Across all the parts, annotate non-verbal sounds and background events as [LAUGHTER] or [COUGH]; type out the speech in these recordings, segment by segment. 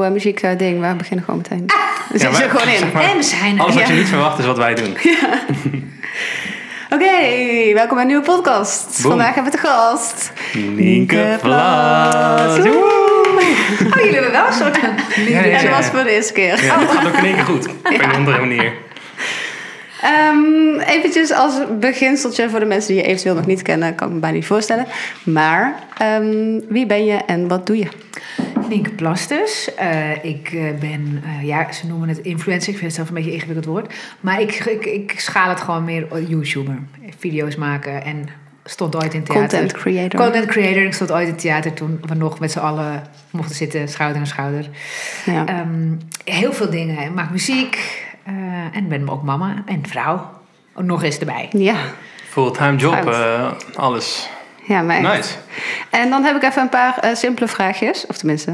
eh, muziek eh, ding. We beginnen gewoon meteen. We zitten maar- er gewoon in. [LAUGHS] zeg maar, en we zijn er. Alles wat ja. je niet verwacht is wat wij doen. Oké, welkom bij een nieuwe podcast. Boom. Vandaag hebben we te gast. Nienke Vlas. Woe! Woe! Oh, jullie hebben wel een soort... [LAUGHS] Ja, ja, Ja, dat ja. was voor de eerste keer. Ja, dat gaat ook in één keer goed. Op een andere manier. Ehm eventjes als beginseltje voor de mensen die je eventueel nog niet kennen, kan ik me bijna niet voorstellen. Maar ehm, wie ben je en wat doe je? Nienke Plastus. Eh, ik eh, ben, eh, ja, ze noemen het influencer. Ik vind het zelf een beetje een ingewikkeld woord. Maar ik, ik, ik schaal het gewoon meer oh, YouTuber. Video's maken en stond ooit in theater. Content creator. Content creator. Ik stond ooit in theater toen we nog met z'n allen mochten zitten, schouder aan schouder. ja. Ehm, heel veel dingen. Ik maak muziek eh, en ben ook mama en vrouw. Nog eens erbij. ja. Fulltime job, Uit. eh, alles. Ja, maar echt. Nice. En dan heb ik even een paar eh, simpele vraagjes. Of tenminste,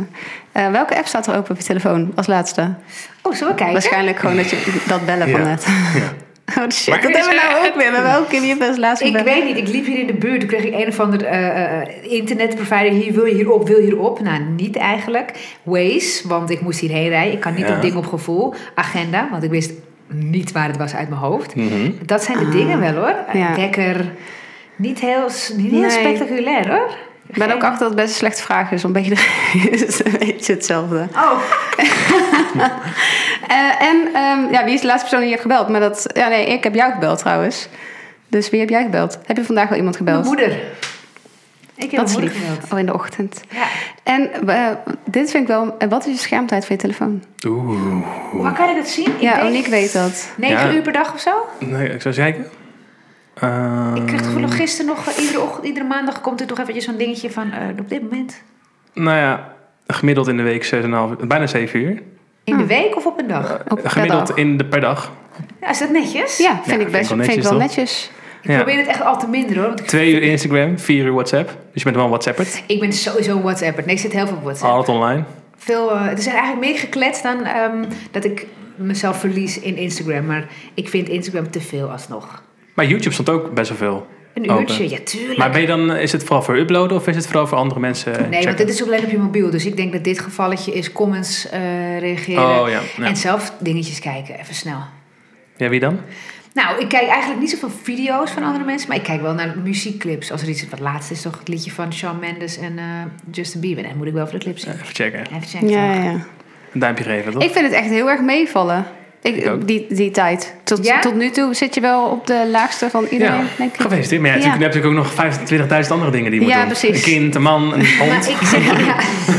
eh, welke app staat er open op je telefoon als laatste? Oh, zullen we kijken? Waarschijnlijk gewoon dat je dat bellen van Ja. net. Ja. [LAUGHS] Oh shit, Maar- dat hebben we nou ook weer. We hebben elke keer weer best laatst Ik gebeld. weet niet, ik liep hier in de buurt. Toen kreeg ik een of ander eh, eh, internetprovider. Hier wil je hierop, wil je hierop. Nou, niet eigenlijk. Waze, want ik moest hierheen rijden. Ik kan niet Ja. op ding op gevoel. Agenda, want ik wist niet waar het was uit mijn hoofd. Mhm. Dat zijn de Ah. dingen wel hoor. Ja. Wekker. Niet heel, s- niet heel Nee. spectaculair hoor. Ik ben ook achter dat het best een slecht vraag is, want een beetje, [LAUGHS] is een beetje hetzelfde. Oh, Eh, en ehm, ja, wie is de laatste persoon die je hebt gebeld? Maar dat, ja, nee, ik heb jou gebeld trouwens. Dus wie heb jij gebeld? Heb je vandaag al iemand mijn gebeld? moeder. Ik heb dat is mijn moeder lief. gebeld. Oh, in de ochtend. Ja. En eh, dit vind ik wel. en Wat is je schermtijd van je telefoon? Oeh. Waar kan ik dat zien? Ik ja, denk Oniek weet dat. 9 Ja. uur per dag of zo? Nee, ik zou zeggen. Eh, Ik kreeg het gevoel nog gisteren nog, eh, iedere, ochtend, iedere maandag komt er toch eventjes zo'n dingetje van eh, op dit moment. Nou ja, gemiddeld in de week 6,5, bijna 7 uur. Eh, In de week of op een Oh, dag? Op per gemiddeld dag. in de, per dag. Ja, is dat netjes? Ja, vind vind ik ik best. wel Vind ik netjes, wel toch? netjes. Ik probeer het echt al te minderen hoor. Want ik, Twee uur Instagram, vier uur WhatsApp. Dus je bent wel een WhatsApper. ik ben sowieso een WhatsApper. Nee, ik zit heel veel op WhatsApp. Altijd online. Veel, eh, er zijn eigenlijk meer gekletst dan ehm, dat ik mezelf verlies in Instagram. Maar ik vind Instagram te veel alsnog. Maar YouTube stond ook best wel veel. Een Open. uurtje, ja tuurlijk. Maar ben je dan, is het vooral voor uploaden of is het vooral voor andere mensen? Nee, checken? want dit is alleen op je mobiel. Dus ik denk dat dit gevalletje is comments eh, reageren. Oh ja, ja. En zelf dingetjes kijken, even snel. Ja, wie dan? Nou, ik kijk eigenlijk niet zoveel video's van andere mensen, maar ik kijk wel naar muziekclips. Als er iets wat laatste is, toch het liedje van Shawn Mendes en eh, Justin Bieber. Dan moet ik wel voor de clip zien. Even checken. Even checken. Ja, ja, ja. Een duimpje geven, toch? Ik vind het echt heel erg meevallen. Ik, Ik ook. die, die tijd. Tot, Ja? tot nu toe zit je wel op de laagste van iedereen, denk ik. Geweest, hè? Maar ja, Ja. natuurlijk heb je natuurlijk ook nog 25.000 andere dingen die je moet Ja, doen. precies. Een kind, een man, een [LAUGHS] hond. Maar ik, zeg, ja. [LAUGHS]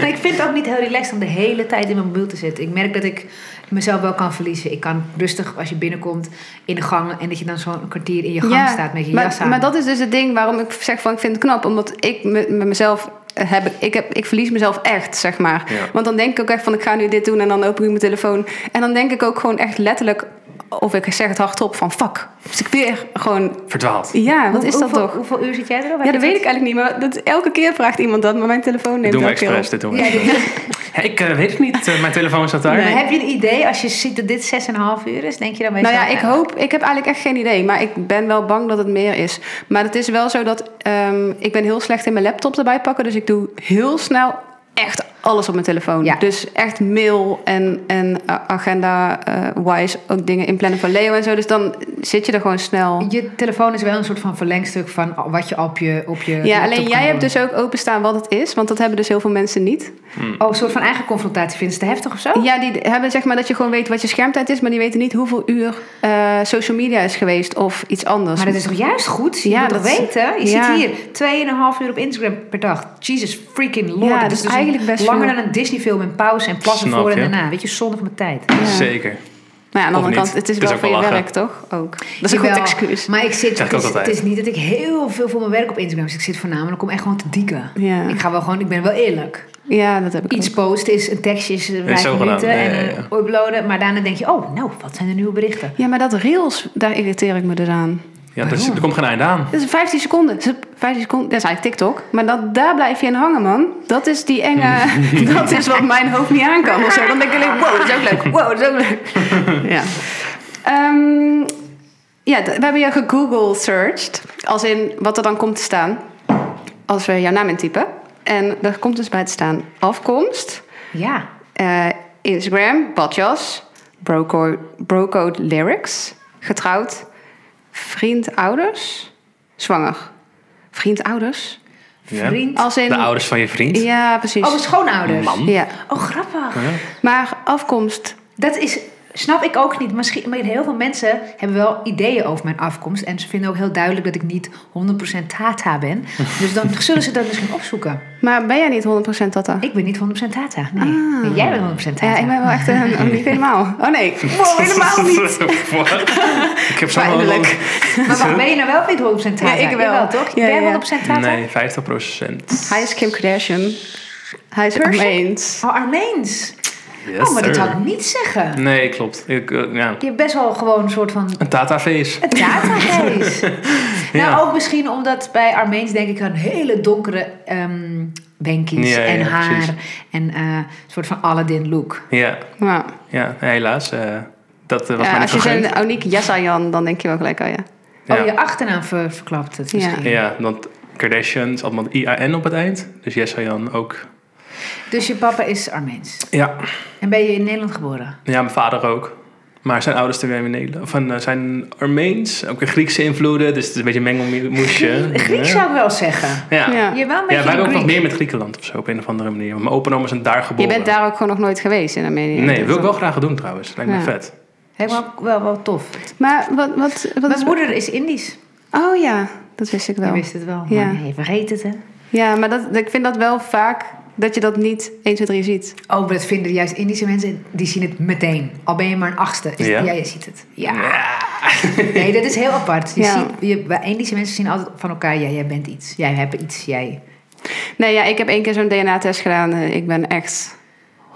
maar ik vind het ook niet heel relaxed om de hele tijd in mijn mobiel te zitten. Ik merk dat ik mezelf wel kan verliezen. Ik kan rustig, als je binnenkomt, in de gang... en dat je dan zo'n kwartier in je gang staat met je maar, jas aan. Maar dat is dus het ding waarom ik zeg van ik vind het knap. Omdat ik me- met mezelf eh, heb, ik, heb, ik verlies mezelf echt, zeg maar. Ja. Want dan denk ik ook echt van ik ga nu dit doen en dan open ik mijn telefoon. En dan denk ik ook gewoon echt letterlijk, of ik zeg het hardop, van fuck. Dus ik weer gewoon, Verdwaald. ja, wat Hoe- is dat hoeveel, toch? Hoeveel uur zit jij erop? Ja, dat weet ik eigenlijk niet. Maar dat, elke keer vraagt iemand dat, maar mijn telefoon Dit neemt doen we ook heel expres, op. dit doen we Ja, expres. [LAUGHS] Hé, ik eh, weet het niet, eh, mijn telefoon staat daar. Nee. Heb je een idee, als je ziet dat dit 6,5 uur is... denk je dan Nou meestal... ja, ik eh, hoop, ik heb eigenlijk echt geen idee, maar ik ben wel bang dat het meer is. Maar het is wel zo dat ehm, ik ben heel slecht in mijn laptop erbij pakken, dus ik doe heel snel echt alles op mijn telefoon. Ja. Dus echt mail en, en eh, agenda-wise ook dingen inplannen voor Leo en zo. Dus dan zit je er gewoon snel. Je telefoon is wel een soort van verlengstuk van wat je op je op je Ja, laptop alleen kan jij hebt doen. dus ook openstaan wat het is, want dat hebben dus heel veel mensen niet. Oh, een soort van eigen confrontatie. Vind je het te heftig of zo? Ja, die hebben zeg maar dat je gewoon weet wat je schermtijd is, maar die weten niet hoeveel uur eh, social media is geweest of iets anders. Maar dat is toch juist goed? Je Ja, moet toch dat is- weten? Je ja. zit hier 2,5 uur op Instagram per dag. Jesus freaking lord. Ja, Het dat is eigenlijk een- best Langer veel. dan een Disney-film en pauze en plassen Snap voor en je. daarna. Weet je, zonde van mijn tijd. Ja. Zeker. Maar ja, aan de Of andere niet. kant, het is Het is wel ook voor wel je lachen. werk, toch? Ook. Dat is een goed Jawel, excuus. Maar ik zit, Zeg ik het, ook is, altijd. het is niet dat ik heel veel voor mijn werk op Instagram zit. Ik zit voornamelijk om echt gewoon te dieken. Ja. Ik ga wel gewoon, ik ben wel eerlijk. Ja, dat heb ik Iets ook. posten is een tekstje, is eh, vijf zo minuten gedaan. Ja, en ja, eh, uploaden. Maar daarna denk je, oh, nou, wat zijn de nieuwe berichten? Ja, maar dat rails, daar irriteer ik me dus aan. Ja, er, is- er komt geen einde aan. Dat is 15 seconden. Dat is 15 seconden, dat is eigenlijk TikTok. Maar dat, daar blijf je in hangen, man. Dat is die enge... [LAUGHS] [LAUGHS] dat is wat mijn hoofd niet aan kan of zo. Dan denk ik alleen, wow, dat is ook leuk. Wow, dat is ook [LAUGHS] leuk. ja. Ehm, ja, d- we hebben jou gegoogle searched. Als in wat er dan komt te staan. Als we jouw naam intypen. En daar komt dus bij te staan afkomst... Ja. Eh, Instagram, badjas, brocode, brocode lyrics, getrouwd, vriend, ouders, zwanger. Vriend, ouders? Ja. Vriend. Als in... De ouders van je vriend. Ja, precies. Oh, mijn schoonouders. Hm? Man. Ja. Oh, grappig. Ja. Maar afkomst, Dat is, snap ik ook niet. Misschien, maar heel veel mensen hebben wel ideeën over mijn afkomst. En ze vinden ook heel duidelijk dat ik niet 100% Tata [LAUGHS] ben. Dus dan zullen ze dat misschien opzoeken. maar ben jij niet 100% Tata? Ik ben niet 100% Tata. Nee. Nee, jij bent 100% Tata. Ah. Ja, ik ben wel echt een, [LAUGHS] een- niet helemaal. Oh nee, wow, helemaal [LAUGHS] niet. What? Ik heb zo'n Eindelijk. Maar wacht, ben je nou wel of niet 100% Tata? Ja, ik wel. Jawel, toch? Ja, ben jij ja. 100% Tata? Nee, 50 procent. Hij is Kim Kardashian. Hij is Persian? Armeens. Oh, Armeens. Yes, oh, maar dat sir. zou ik niet zeggen. Nee, klopt. Ik, eh, ja. Je hebt best wel gewoon een soort van Een Tata-feest. Een [LAUGHS] datageest. Ja. Nou, ook misschien omdat bij Armeens denk ik aan hele donkere ehm benkjes Ja, ja, en ja, haar. precies. En eh, een soort van Aladdin look. Ja, Ja. ja. helaas. eh, dat eh, was Ja, mij niet als je gegund. zo'n Oniek Jassayan, dan denk je wel gelijk, oh ja. Ja. Oh, je achternaam ver- verklapt het Ja. misschien. Ja, want Kardashian zat met IAN op het eind. Dus Jessa Jan ook. Dus je papa is Armeens. Ja. En ben je in Nederland geboren? ja, mijn vader ook. Maar zijn ouders zijn weer in Nederland. Of eh, zijn Armeens, ook weer Griekse invloeden. Dus het is een beetje een mengelmoesje. Grieks ja. zou ik wel zeggen. Ja. Ja. Ja. Je wel een wij beetje hebben ook Griek. wat meer met Griekenland of zo op een of andere manier. Want Mijn open en oma zijn daar Je geboren. bent daar ook gewoon nog nooit geweest in Armenië. Nee, wil ik wel graag doen trouwens. Lijkt me Ja. vet. Lijkt me ook wel, wel tof. Maar wat, wat, wat Mijn is- moeder is Indisch. Oh ja, dat wist ik Je wel. wist het wel, maar Ja. je vergeet het, hè? Ja, maar dat, ik vind dat wel vaak dat je dat niet 1, 2, 3 ziet. Oh, maar dat vinden juist Indische mensen, die zien het meteen. Al ben je maar een achtste. Is, ja. Ja. je ziet het. Ja. Nee, dat is heel apart. Je Ja. ziet, je, bij Indische mensen zien altijd van elkaar, ja, jij bent iets. Jij hebt iets, jij. Nee, ja, ik heb één keer zo'n DNA-test gedaan. eh, Ik ben echt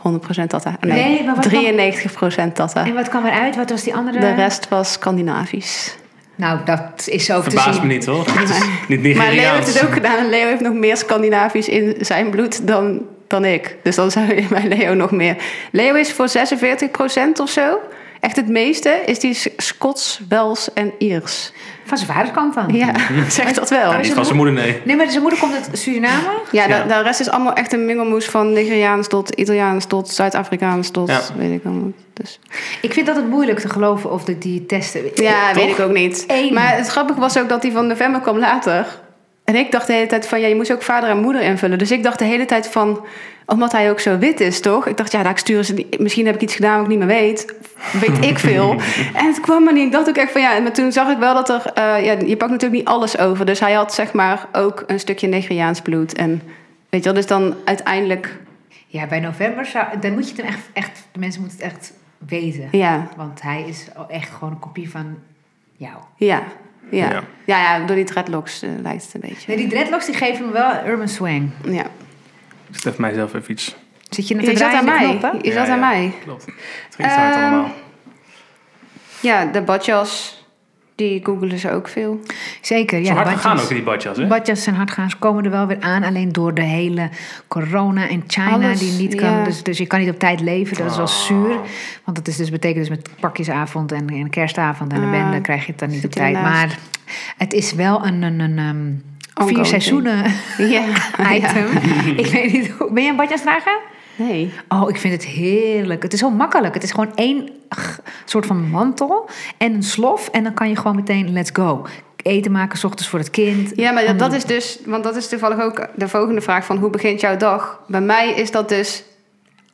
100% Tata. Nee, maar wat dan? 93% Tata. En wat kwam eruit? Wat eh? was die andere? Ah. De rest was Scandinavisch. Nou, dat is zo te Verbaast zien. me niet, hoor. Het is Niet Nigeriaans. Maar Leo heeft het ook gedaan. En Leo heeft nog meer Scandinavisch in zijn bloed dan, dan ik. Dus dan zijn we [LAUGHS] bij Leo nog meer. Leo is voor 46% of zo. Echt het meeste is die Scots, Wels en Iers. Van zijn vaderskant dan? Ja, [LAUGHS] zeg dat wel. Ja, Oh, niet van zijn moeder, nee. Nee, maar zijn moeder komt uit Suriname. Ja, de, Ja. de rest is allemaal echt een mengelmoes van Nigeriaans tot Italiaans tot Zuid-Afrikaans tot Ja. weet ik allemaal. Dus. Ik vind dat het moeilijk te geloven of dat die testen... Ja, Toch? weet ik ook niet. Eén. Maar het grappige was ook dat die van november kwam later. En ik dacht de hele tijd van, ja, je moest ook vader en moeder invullen. Dus ik dacht de hele tijd van, omdat hij ook zo wit is, toch? Ik dacht, ja, daar sturen ze, die- misschien heb ik iets gedaan wat ik niet meer weet. Weet ik veel. en het kwam maar niet. Ik dacht ook echt van, ja, maar toen zag ik wel dat er, eh, ja, je pakt natuurlijk niet alles over. Dus hij had zeg maar ook een stukje Nigeriaans bloed. En weet je wel, dus dan uiteindelijk, Ja, bij november zou... Dan moet je het hem echt, echt... De mensen moeten het echt weten. ja, Want hij is echt gewoon een kopie van jou. ja. Ja. Ja. Ja. ja, door die dreadlocks eh, lijkt het een beetje. Nee, die dreadlocks die geven me wel een urban swang. Ja. Ik zet mijzelf even iets. Zit je net te Je zat draaien aan aan de mij. knoppen? Je Ja, zat aan ja, mij. Klopt. Het ging te hard Ehm, allemaal. Ja, de badjas, die googelen ze ook veel. [LAUGHS] Zeker, ja. Zo hard badjas. gegaan ook in die badjas, hè? Badjas zijn hard gaan. Ze komen er wel weer aan. Alleen door de hele corona en China Alles, die niet kan. ja. Dus, dus je kan niet op tijd leven. Dat is wel Ah. zuur. Want dat is dus, betekent dus met pakjesavond en, en kerstavond en de Ah. bende krijg je het dan niet Zit op je tijd. ernaast? Maar het is wel een, een, een ehm, vier Ongoing Ah, seizoenen Ja. [LAUGHS] item. Ik weet niet hoe. Ben je een badjas dragen? Nee. Oh, ik vind het heerlijk. Het is zo makkelijk. Het is gewoon één g- soort van mantel en een slof. En dan kan je gewoon meteen let's go. Eten maken, s ochtends voor het kind. Ja, maar dat, Hmm. dat is dus, want dat is toevallig ook de volgende vraag van hoe begint jouw dag? Bij mij is dat dus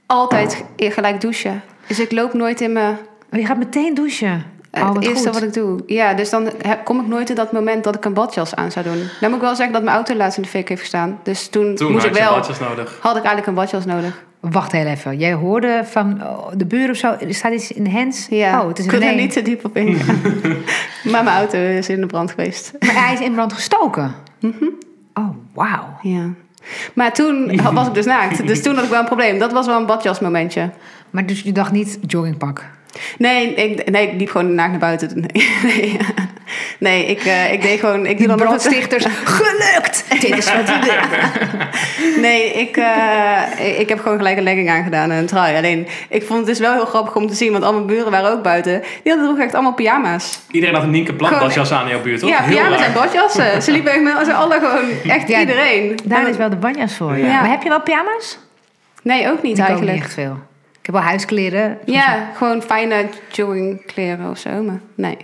altijd Oh. gelijk douchen. Dus ik loop nooit in mijn... Maar je gaat meteen douchen. eh, oh, het wat eerste goed. wat ik doe. Ja, dus dan heb- kom ik nooit in dat moment dat ik een badjas aan zou doen. Dan moet ik wel zeggen dat mijn auto laatst in de fik heeft gestaan. Dus toen, Toen moest had ik je wel... badjas nodig. Had ik eigenlijk een badjas nodig. Wacht heel even. Jij hoorde van oh, de buren of zo. Er staat iets in de hens. Ja, Oh, het is ik kon er René. niet te diep op [LAUGHS] ingaan. maar mijn auto is in de brand geweest. Maar hij is in brand gestoken. Mhm. Oh, wauw. Ja. Maar [LAUGHS] toen had- was ik dus naakt. Dus toen had ik wel een probleem. Dat was wel een badjasmomentje. Maar dus je dacht niet joggingpak. Nee, ik, nee, ik liep gewoon naakt naar buiten. [LAUGHS] Nee, nee, nee ik, eh, ik deed gewoon... Ik doe Die dan altijd- brandstichters. [LAUGHS] Gelukt! Dit is wat we willen. Nee, ik, eh, ik heb gewoon gelijk een legging aangedaan en een trui. Alleen, ik vond het dus wel heel grappig om te zien. Want al mijn buren waren ook buiten. Die hadden ook echt allemaal pyjama's. Iedereen had een Nienke plat Gewoon- badjas aan in jouw buurt, toch? ja, Heel pyjama's raar. en badjassen. Ze [LAUGHS] liepen echt met z'n allen gewoon... Echt Ja, iedereen. Daar is wel de banjas voor. Ja. Maar heb je wel pyjama's? Nee, ook niet ik koop eigenlijk. niet echt veel. Ik heb wel huiskleren. Ja, gewoon fijne joggingkleren of zo. Maar nee.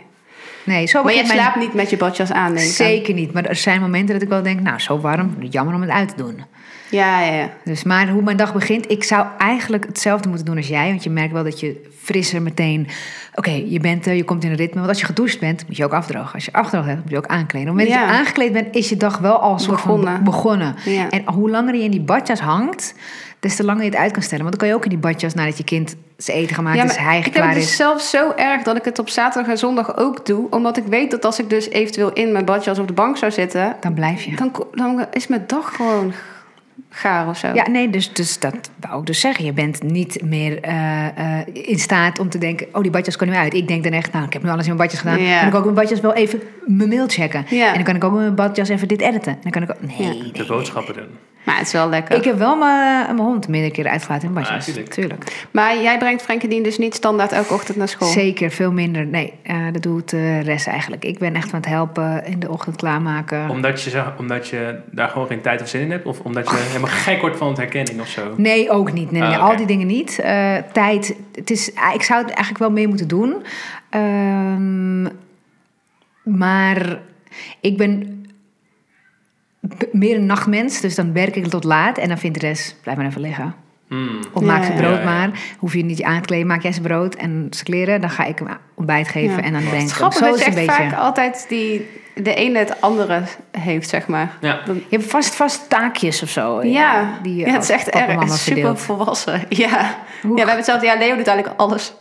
Nee, zo Maar je begint mijn- slaapt niet met je badjas aan, denk ik. Zeker niet. Maar er zijn momenten dat ik wel denk, nou, zo warm, jammer om het uit te doen. Ja, ja, ja. Dus, maar hoe mijn dag begint, ik zou eigenlijk hetzelfde moeten doen als jij. Want je merkt wel dat je frisser meteen... Oké, je bent er, je komt in een ritme. Want als je gedoucht bent, moet je ook afdrogen. Als je afdroogd hebt, moet je ook aankleden. Op het moment dat Ja. je aangekleed bent, is je dag wel al een soort van Begonnen. begonnen. Ja. En hoe langer je in die badjas hangt, des te langer je het uit kan stellen. Want dan kan je ook in die badjas nadat je kind zijn eten gemaakt ja is, hij ik heb klaar het is. dus zelf zo erg dat ik het op zaterdag en zondag ook doe. Omdat ik weet dat als ik dus eventueel in mijn badjas op de bank zou zitten... Dan blijf je. dan, ko- dan is mijn dag gewoon gaar of zo. Ja, nee, dus, dus dat wou ik dus zeggen. Je bent niet meer eh, eh, in staat om te denken... oh, die badjas kan nu uit. Ik denk dan echt, nou, ik heb nu alles in mijn badjas gedaan. Ja. Kan ik ook in mijn badjas wel even mijn mail checken. Ja. En dan kan ik ook in mijn badjas even dit editen. En dan kan ik ook... Nee, Ja. nee, De boodschappen doen. Maar het is wel lekker. nee. Ik heb wel mijn, mijn hond meerdere keren uitgelaten in mijn badjas. Ah, tuurlijk. tuurlijk. Maar jij brengt Frenkendien dus niet standaard elke ochtend naar school? Zeker, veel minder. Nee, eh, dat doet de rest eigenlijk. Ik ben echt aan het helpen in de ochtend klaarmaken. Omdat je, zo- omdat je daar gewoon geen tijd of zin in hebt? Of omdat je helemaal gek wordt van het herkenning of zo? Nee, ook niet. Nee, nee, Ah, nee, oké. Al die dingen niet. Eh, tijd. Het is, eh, ik zou het eigenlijk wel mee moeten doen. Ehm, maar ik ben b- meer een nachtmens. Dus dan werk ik tot laat. En dan vindt de rest, blijf maar even liggen. Hmm. Of Ja, maak ze ja. brood Ja, ja. maar. Hoef je niet aan te kleden. Maak jij ze brood en ze kleren. Dan ga ik hem ontbijt geven. Ja. En dan denk Het ik, is hem. Oh, grappig zo dat is je het echt een beetje. vaak altijd die, de ene het andere heeft, zeg maar. Ja. Je hebt vast, vast taakjes of zo. eh, Ja, die je ja het is als echt papa en erg. Het mama is super verdeelt. volwassen. [LAUGHS] Ja. ja, we Hoe- hebben hetzelfde. Ja, Leo doet eigenlijk alles.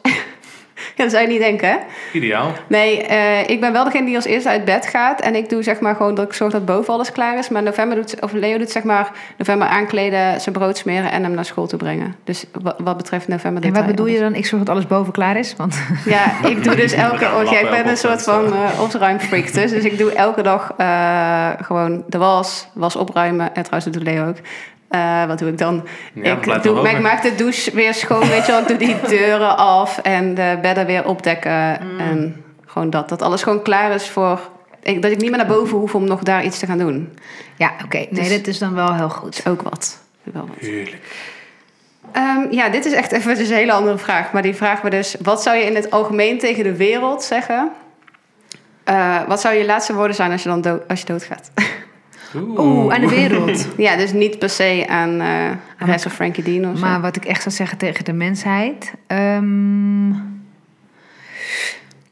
[LAUGHS] ja, dat zou je niet denken, hè? Ideaal. Nee, eh, ik ben wel degene die als eerste uit bed gaat. En ik doe zeg maar gewoon dat ik zorg dat boven alles klaar is. Maar november doet, of Leo doet zeg maar november aankleden, zijn brood smeren en hem naar school toe brengen. Dus wat, wat betreft november En doet wat hij bedoel je alles. dan? Ik zorg dat alles boven klaar is. Want [LAUGHS] Ja, ik doe dus elke... Ja, Oh, ja, ik ben lappen, een soort van opruimen. eh opruimfreak dus. Dus ik doe elke dag eh, gewoon de was, was opruimen. En trouwens, dat doet Leo ook. Eh, wat doe ik dan? Ja, dat ik, blijft doe, nog maar ik over. maak de douche weer schoon, weet je wel. Ik doe die deuren af en de bedden weer opdekken. En gewoon dat. Dat alles gewoon klaar is voor... Ik, dat ik niet meer naar boven hoef om nog daar iets te gaan doen. Ja, oké. Nee, Dus- dat is dan wel heel Dat goed. is ook wat. Wel wat. Tuurlijk. Ehm, ja, dit is echt even dus een hele andere vraag. Maar die vraag we dus: wat zou je in het algemeen tegen de wereld zeggen? Eh, wat zou je laatste woorden zijn als je, dan dood, als je doodgaat? [LAUGHS] Oeh. Oeh, aan de wereld. ja, dus niet per se aan eh maar- Rest of Frankie Dean of zo. maar wat ik echt zou zeggen tegen de mensheid... ehm,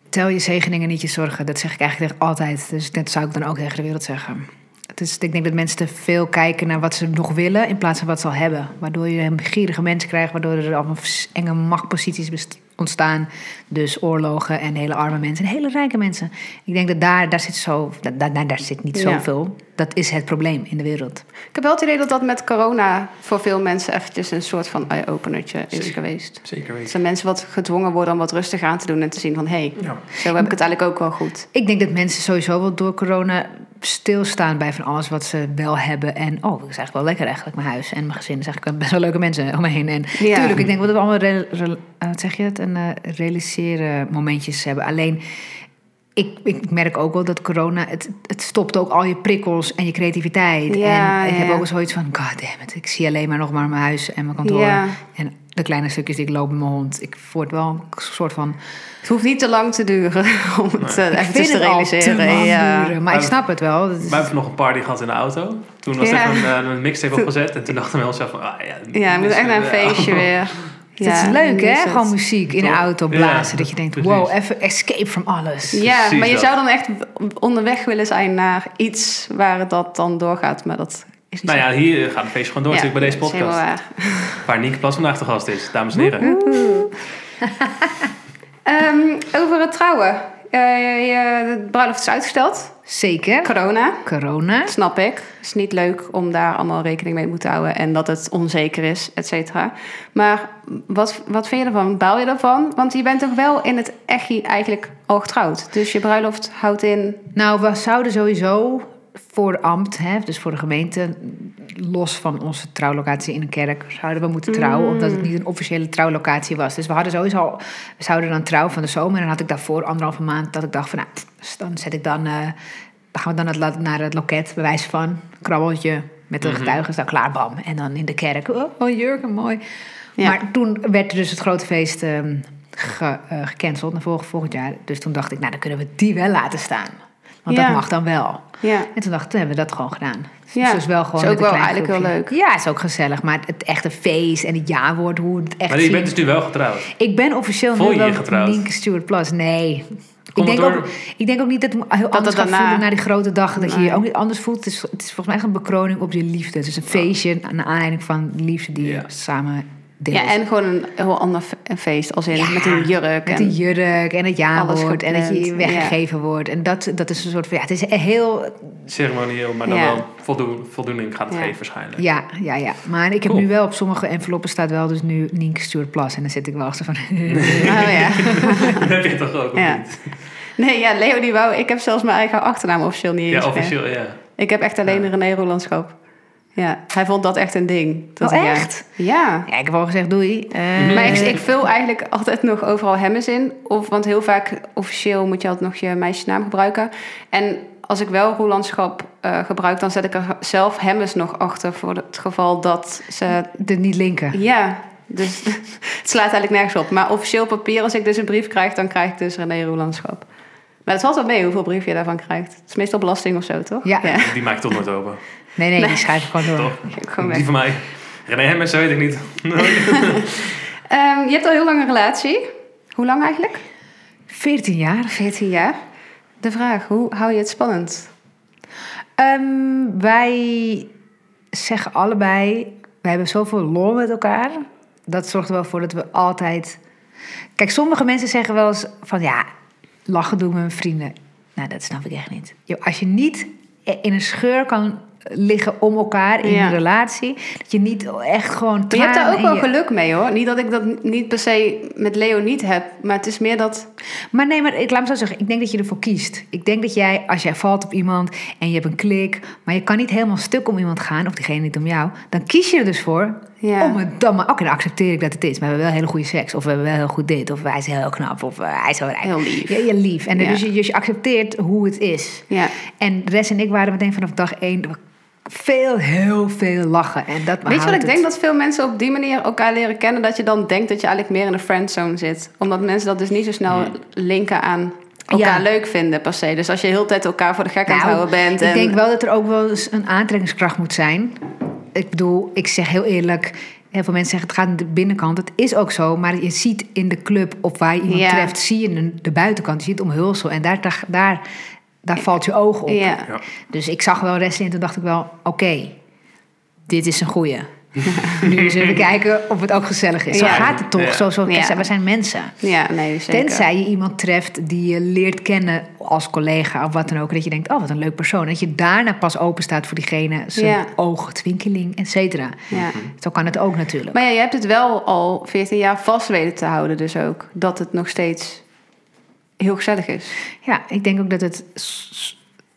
tel je zegeningen, niet je zorgen. Dat zeg ik eigenlijk tegen altijd. Dus dat zou ik dan ook tegen de wereld zeggen. Het is, ik denk dat mensen te veel kijken naar wat ze nog willen... in plaats van wat ze al hebben. Waardoor je een gierige mensen krijgt... waardoor er allemaal vers- enge machtposities best- ontstaan. Dus oorlogen en hele arme mensen en hele rijke mensen. Ik denk dat daar, daar, zit, zo, da- da- daar, daar zit niet Ja. zoveel. Dat is het probleem in de wereld. Ik heb wel het idee dat dat met corona voor veel mensen eventjes een soort van eye-openertje is Zeker. geweest. Zeker Dat weten. zijn mensen wat gedwongen worden om wat rustig aan te doen en te zien van... hé, hey, Ja. zo heb ik het eigenlijk ook wel goed. Ik denk dat mensen sowieso wel door corona stilstaan bij van alles wat ze wel hebben. En oh, dat is eigenlijk wel lekker eigenlijk, mijn huis en mijn gezin. Dat is eigenlijk best wel leuke mensen om me heen. En Ja. tuurlijk, ik denk wel dat we allemaal, re- re- eh, wat zeg je het, een eh, realiseren momentjes hebben. Alleen, ik, ik merk ook wel dat corona, het, het stopt ook al je prikkels en je creativiteit. Ja, en ik ja, heb ja. ook wel zoiets van, god damn it, ik zie alleen maar nog maar mijn huis en mijn kantoor. Ja. En de kleine stukjes die ik loop met mijn hond. Ik word wel een soort van... Het hoeft niet te lang te duren [LAUGHS] om het eh, Ik eventjes vind te het al realiseren. te lang ja. duren, maar ik snap het wel. Dat is- We hebben nog een party gehad in de auto. Toen was Ja. er even een, eh, een mixtape opgezet. En toen dachten we onszelf van... Ah, ja, Ja, we dit moet is echt naar een wel- feestje weer. [LAUGHS] Dat Ja, is is leuk, hè? het. Gewoon muziek in de Toch? auto Ja, blazen. dat je denkt, precies. wow, even escape from alles. Ja, Precies maar je dat. zou dan echt onderweg willen zijn naar iets waar dat dan doorgaat. Maar dat is niet [LAUGHS] Nou ja, hier gaat het feestje gewoon door. Ja, natuurlijk bij deze dat is podcast. helemaal waar. Waar Nienke Plas vandaag te gast is, dames en heren. Ehm, over het trouwen. Eh, je- de bruiloft is uitgesteld. Zeker. Corona. Corona. Dat snap ik. Het is niet leuk om daar allemaal rekening mee te moeten houden. En dat het onzeker is, et cetera. Maar wat, wat vind je ervan? Baal je ervan? Want je bent toch wel in het echi eigenlijk al getrouwd. Dus je bruiloft houdt in... Nou, we zouden sowieso voor ambt, hè, dus voor de gemeente, los van onze trouwlocatie in een kerk, zouden we moeten trouwen, omdat het niet een officiële trouwlocatie was. Dus we hadden sowieso al, we zouden dan trouwen van de zomer. En dan had ik daarvoor anderhalve maand dat ik dacht van, nou, pff, dan zet ik dan, eh, dan gaan we dan het la- naar het loket, bij wijze van, krabbeltje, Met de Mhm. getuigen staan klaar, bam. En dan in de kerk, oh, oh jurken, mooi. Ja. Maar toen werd dus het grote feest ehm, ge- eh, gecanceld naar volgend, volgend jaar. Dus toen dacht ik, nou dan kunnen we die wel laten staan. Want Ja. dat mag dan wel. Ja. En toen dacht ik, toen hebben we dat gewoon gedaan. Dus Ja. het is wel gewoon Is ook met een wel klein eigenlijk heel groepje. Ja, het is ook gezellig. Maar het echte feest en het ja-woord, hoe het echt Maar je zien. bent dus nu wel getrouwd. Ik ben officieel Voel nu je wel je getrouwd? Nienke Stewart Plus. Nee. Komt Ik denk, het ook, door- ik denk ook niet dat het me heel anders het gaat daarna- voelen naar die grote dag. Dat je Nee. je ook niet anders voelt. Het is, het is volgens mij echt een bekroning op je liefde. Het is een feestje aan de aanleiding van de liefde die Ja. je samen deelt. Ja, en gewoon een heel ander fe- een feest. Als in Ja, met een jurk. Met en- die jurk en het ja-woord. En dat je gepland, weggegeven wordt. En dat, dat is een soort van... Ja, het is heel... Ceremonieel, maar dan Ja. wel voldoen, voldoening gaat het Ja. geven waarschijnlijk. Ja, ja, ja. Maar ik heb Cool. nu wel op sommige enveloppen staat wel dus nu Nienke Stewart Plus. En dan zit ik wel achter van... [LAUGHS] Oh, ja. [LAUGHS] Dat heb je toch ook, of Ja. niet? Nee, ja, Leo die wou... Ik heb zelfs mijn eigen achternaam officieel niet eens Ja, meer. officieel, ja. Ik heb echt alleen René Rolandschap. Ja, hij vond dat echt een ding. Dat Oh, hij- echt? Ja. Ja, ik heb al gezegd doei. Eh, Maar ik, ik vul eigenlijk altijd nog overal hemmes in. Of, want heel vaak officieel moet je altijd nog je meisjesnaam gebruiken. En als ik wel roelandschap eh, gebruik, dan zet ik er zelf hemmes nog achter. Voor het geval dat ze... de niet linken. Ja, dus [LAUGHS] het slaat eigenlijk nergens op. Maar officieel papier, als ik dus een brief krijg, dan krijg ik dus René roelandschap. Maar het valt wel mee hoeveel brief je daarvan krijgt. Het is meestal belasting of zo, toch? Ja. Die maak ik toch nooit open. Nee, nee, Nee. die schrijf ik gewoon door. Toch? [LAUGHS] Ik heb gewoon Die weg. van mij. René Hemmers, dat weet ik niet. Ehm, je hebt al heel lang een relatie. Hoe lang eigenlijk? 14 jaar. 14 jaar. De vraag, hoe hou je het spannend? Ehm, wij zeggen allebei, wij hebben zoveel lol met elkaar. Dat zorgt er wel voor dat we altijd... Kijk, sommige mensen zeggen wel eens van ja, lachen doen we met vrienden. Nou, dat snap ik echt niet. Jo, Als je niet in een scheur kan liggen om elkaar in Ja. een relatie, dat je niet echt gewoon... Maar je hebt daar tranen ook in wel je- geluk mee hoor. Niet dat ik dat niet per se met Leo niet heb, maar het is meer dat. Maar nee, maar ik laat me zo zeggen. Ik denk dat je ervoor kiest. Ik denk dat jij, als jij valt op iemand en je hebt een klik, maar je kan niet helemaal stuk om iemand gaan, of diegene niet om jou, dan kies je er dus voor Ja. om het dan maar. Oké, dan accepteer ik dat het is. Maar we hebben wel hele goede seks, of we hebben wel heel goed dit, of hij is heel knap, of eh, hij is heel rijk. Heel lief. Ja, je lief. En Ja. dus, je, dus je accepteert hoe het is. Ja. En Res en ik waren meteen vanaf dag één veel, heel veel lachen. En dat Weet je wat ik houdt het- denk? Dat veel mensen op die manier elkaar leren kennen, dat je dan denkt dat je eigenlijk meer in een friendzone zit. Omdat mensen dat dus niet zo snel linken aan elkaar Ja. leuk vinden per se. Dus als je de hele tijd elkaar voor de gek aan het Nou, houden bent. Ik En, denk wel dat er ook wel eens een aantrekkingskracht moet zijn. Ik bedoel, ik zeg heel eerlijk. Heel veel mensen zeggen het gaat aan de binnenkant. Het is ook zo, maar je ziet in de club of waar je iemand Ja. treft, zie je een- de buitenkant. Je ziet omhulsel en daar, daar, daar, daar valt je oog op. Ja. Ja. Dus ik zag wel resten en toen dacht ik wel, oké, dit is een goeie. [LAUGHS] nu eens even kijken of het ook gezellig is. Zo Ja. gaat het toch? Ja. Zo, zo, Ja. We zijn mensen. ja, nee, zeker. Tenzij je iemand treft die je leert kennen als collega of wat dan ook. Dat je denkt, oh wat een leuk persoon. Dat je daarna pas open staat voor diegene. Zijn Ja. oog, twinkeling, et cetera. Ja. Zo kan het ook natuurlijk. Maar ja, je hebt het wel al 14 jaar vast weten te houden, dus ook. Dat het nog steeds heel gezellig is. Ja, ik denk ook dat het...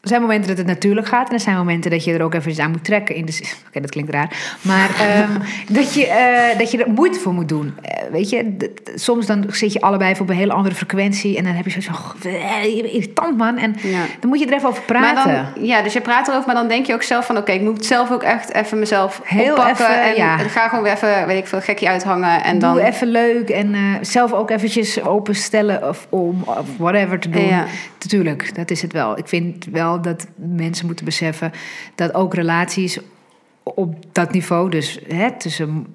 Er zijn momenten dat het natuurlijk gaat. En er zijn momenten dat je er ook even iets aan moet trekken. In de zin- [LAUGHS] Oké, dat klinkt raar. Maar [LAUGHS] ehm, dat, je, eh, dat je er moeite voor moet doen. Eh, weet je, d- d- soms dan zit je allebei op een hele andere frequentie. En dan heb je zoiets van... "Goh, eh, je bent irritant man. En Ja. dan moet je er even over praten. Maar dan, ja, dus je praat erover, maar dan denk je ook zelf van... oké, ik moet zelf ook echt even mezelf Heel oppakken... even, en ja. en ga gewoon weer even, weet ik veel, gekkie uithangen. En dan, Doe even leuk en eh, zelf ook eventjes openstellen of om of whatever te doen. Ja. Natuurlijk, dat is het wel. Ik vind wel dat mensen moeten beseffen dat ook relaties op dat niveau, dus hè, tussen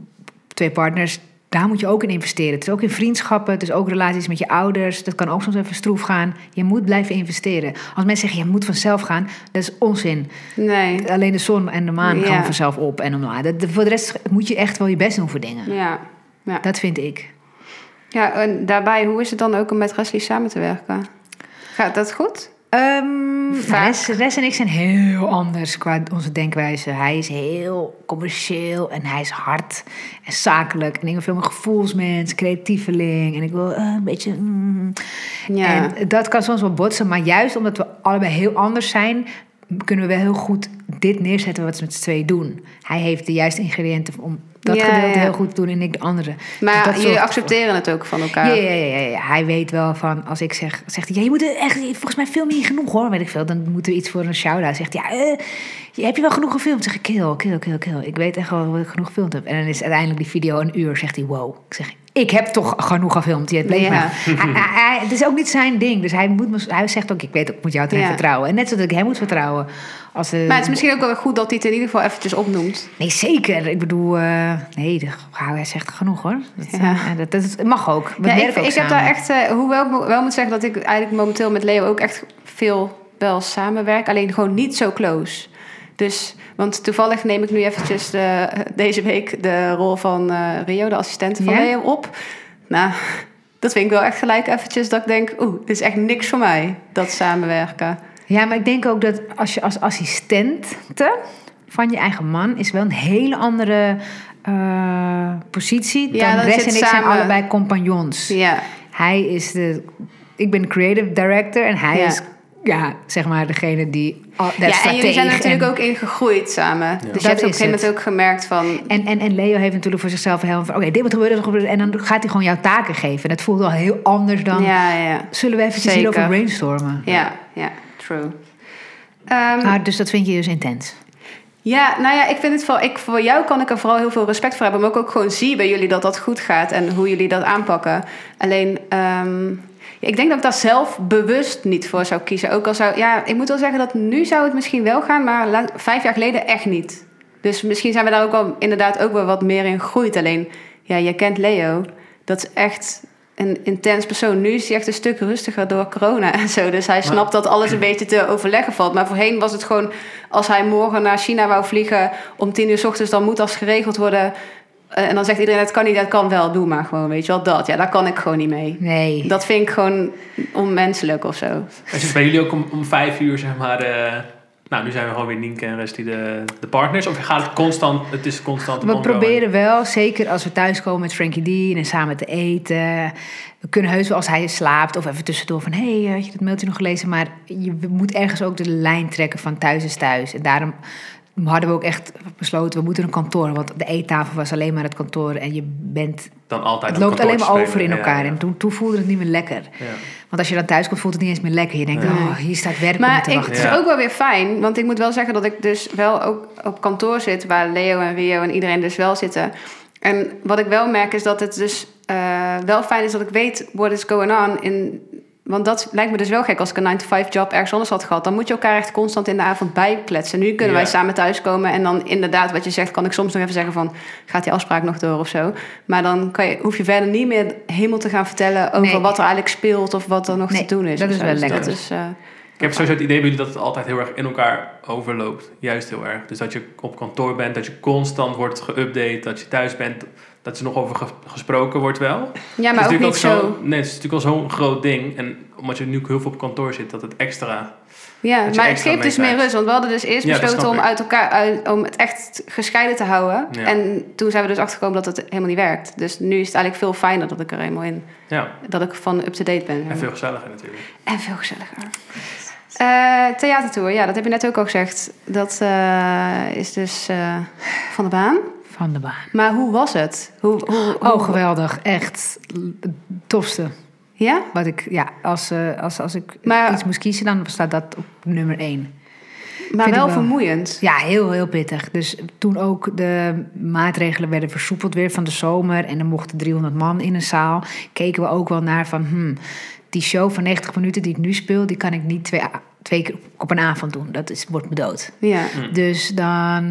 twee partners, daar moet je ook in investeren. Het is ook in vriendschappen, het is ook relaties met je ouders. Dat kan ook soms even stroef gaan. Je moet blijven investeren. Als mensen zeggen je moet vanzelf gaan, dat is onzin. Nee, Alleen de zon en de maan Ja. gaan vanzelf op en omlaag. Dat, voor de rest moet je echt wel je best doen voor dingen. ja. Ja. Dat vind ik. ja, en daarbij, hoe is het dan ook om met Wesley samen te werken? Gaat dat goed? Ehm Vaak. Res, Res en ik zijn heel anders qua onze denkwijze. Hij is heel commercieel en hij is hard en zakelijk. En ik ben veel meer gevoelsmens, creatieveling. En ik wil eh, een beetje... mm. Ja. En dat kan soms wel botsen. Maar juist omdat we allebei heel anders zijn... kunnen we wel heel goed dit neerzetten wat ze met z'n tweeën doen. Hij heeft de juiste ingrediënten om dat Ja, gedeelte ja. heel goed te doen en ik de andere. Dus dat Maar jullie zorgt- accepteren het ook van elkaar. Ja, ja, ja, ja, ja. Hij weet wel van, als ik zeg, zegt hij, ja, je moet er echt, volgens mij film je niet genoeg hoor, weet ik veel. Dan moeten we iets voor een shout-out. Zegt hij, ja, eh, je- heb je wel genoeg gefilmd? Zeg ik, kill, kill, kill, kill. Ik weet echt wel wat ik genoeg gefilmd heb. En dan is uiteindelijk die video een uur, zegt hij, wow. Ik zeg, ik heb toch genoeg gefilmd, je bleef Ja. maar. Hij- hij- hij- Het is ook niet zijn ding, dus hij, moet me, hij zegt ook, ik weet ook, ik moet jou erin Ja. vertrouwen. En net zoals ik hem moet vertrouwen. Als, eh, Maar het is misschien ook wel goed dat hij het in ieder geval eventjes opnoemt. Nee, zeker. Ik bedoel, eh, nee, de- wauw, hij zegt genoeg hoor. Dat, Ja. eh, dat, dat is- mag ook. We Ja, ik werken ook ik heb samen. daar echt, eh, hoewel ik mo- wel moet zeggen dat ik eigenlijk momenteel met Leo ook echt veel wel samenwerk, alleen gewoon niet zo close. Dus, want toevallig neem ik nu eventjes de, deze week de rol van eh, Rio, de assistente van Ja? Leo, op. Nou, [LAUGHS] dat vind ik wel echt gelijk eventjes dat ik denk, oeh, dit is echt niks voor mij, dat samenwerken. Ja, maar ik denk ook dat als je als assistente van je eigen man is wel een hele andere eh, positie Ja, dan dan Rest zit en ik zijn samen. allebei compagnons. Ja, Hij is de, ik ben creative director en hij Ja. is, ja, zeg maar degene die al- ja de en jullie zijn stratege er natuurlijk en- ook in gegroeid samen. Dus Dat je hebt op een is gegeven moment ook gemerkt van, En, en, en Leo heeft natuurlijk voor zichzelf heel van, oké, dit moet gebeuren, dat moet gebeuren. En dan gaat hij gewoon jouw taken geven. En dat voelt al heel anders dan, ja, ja, zullen we eventjes Zeker. hierover brainstormen? ja, ja, true. Ehm, Maar, dus dat vind je dus intens. Ja, nou ja, ik vind het vooral, ik, voor jou kan ik er vooral heel veel respect voor hebben. Maar ik ook gewoon zie bij jullie dat dat goed gaat en hoe jullie dat aanpakken. Alleen, ehm, ja, ik denk dat ik daar zelf bewust niet voor zou kiezen. Ook al zou, ja, ik moet wel zeggen dat nu zou het misschien wel gaan, maar la- vijf jaar geleden echt niet. Dus misschien zijn we daar ook al inderdaad ook wel wat meer in gegroeid. Alleen, ja, je kent Leo. Dat is echt een intens persoon. Nu is hij echt een stuk rustiger door corona en zo. Dus hij snapt dat alles een beetje te overleggen valt. Maar voorheen was het gewoon... als hij morgen naar China wou vliegen om tien uur 's ochtends... dan moet dat geregeld worden. Eh, En dan zegt iedereen, dat kan niet, dat kan wel. Doe maar gewoon, weet je wel, dat. Ja, daar kan ik gewoon niet mee. Nee. Dat vind ik gewoon onmenselijk of zo. Is het bij jullie ook om, om vijf uur, zeg maar... eh, nou, nu zijn we gewoon weer Nienke en Rest die de, de partners. Of gaat het constant... Het is constant een We ongoing- proberen wel, zeker als we thuiskomen met Frankie Dean en samen te eten. We kunnen heus wel als hij slaapt of even tussendoor van... hé, hey, eh, had je dat mailtje nog gelezen? Maar je moet ergens ook de lijn trekken van thuis is thuis. En daarom hadden we ook echt besloten, we moeten een kantoor. Want de eettafel was alleen maar het kantoor en je bent... Dan altijd Het op loopt kantoor alleen te maar over in spelen. Ja, elkaar. ja, En toen, toen voelde het niet meer lekker. ja. Want als je dan thuis komt, voelt het niet eens meer lekker. Je denkt, Nee. oh, hier staat werk op me Maar te ik, wachten. het is Ja. ook wel weer fijn, want ik moet wel zeggen dat ik dus wel ook op kantoor zit, waar Leo en Rio en iedereen dus wel zitten. En wat ik wel merk is dat het dus eh, wel fijn is dat ik weet what is going on. In, want dat lijkt me dus wel gek als ik een 9-to-5 job ergens anders had gehad. Dan moet je elkaar echt constant in de avond bijkletsen. Nu kunnen wij Ja. samen thuiskomen en dan inderdaad wat je zegt... kan ik soms nog even zeggen van, gaat die afspraak nog door of zo. Maar dan kan je, hoef je verder niet meer helemaal te gaan vertellen... over Nee. wat er eigenlijk speelt of wat er nog Nee, te doen is. dat of is zo. wel Dus lekker. Dat is, eh, Ik heb sowieso het idee bij jullie dat het altijd heel erg in elkaar overloopt. Juist heel erg. Dus dat je op kantoor bent, dat je constant wordt geüpdate, dat je thuis bent, dat er nog over ge- gesproken wordt wel. ja, Het maar is ook natuurlijk niet zo... Nee, het is natuurlijk al zo'n groot ding. En omdat je nu ook heel veel op kantoor zit, dat het extra... Ja, Dat je maar het extra geeft dus meer meekrijgt. rust. Want we hadden dus eerst Ja, dat besloten snap om, ik. uit elkaar, uit- om het echt gescheiden te houden. Ja. En toen zijn we dus achtergekomen dat het helemaal niet werkt. Dus nu is het eigenlijk veel fijner dat ik er helemaal in... Ja, Dat ik van up-to-date ben. zeg en maar. veel gezelliger natuurlijk. En veel gezelliger. Eh, theatertour, ja, dat heb je net ook al gezegd. Dat eh, is dus eh, van de baan. Van de baan. Maar hoe was het? Hoe, hoe, hoe- Oh, geweldig. Echt het tofste. Ja? Wat ik, ja, als, eh, als, als ik Maar- iets moest kiezen, dan staat dat op nummer één. Maar ik wel wel. vermoeiend. Ja, heel, heel pittig. Dus toen ook de maatregelen werden versoepeld weer van de zomer... en dan mochten 300 man in een zaal... keken we ook wel naar van... Hmm, die show van 90 minuten die ik nu speel... die kan ik niet twee, twee keer op een avond doen. Dat is, wordt me dood. Ja. Dus dan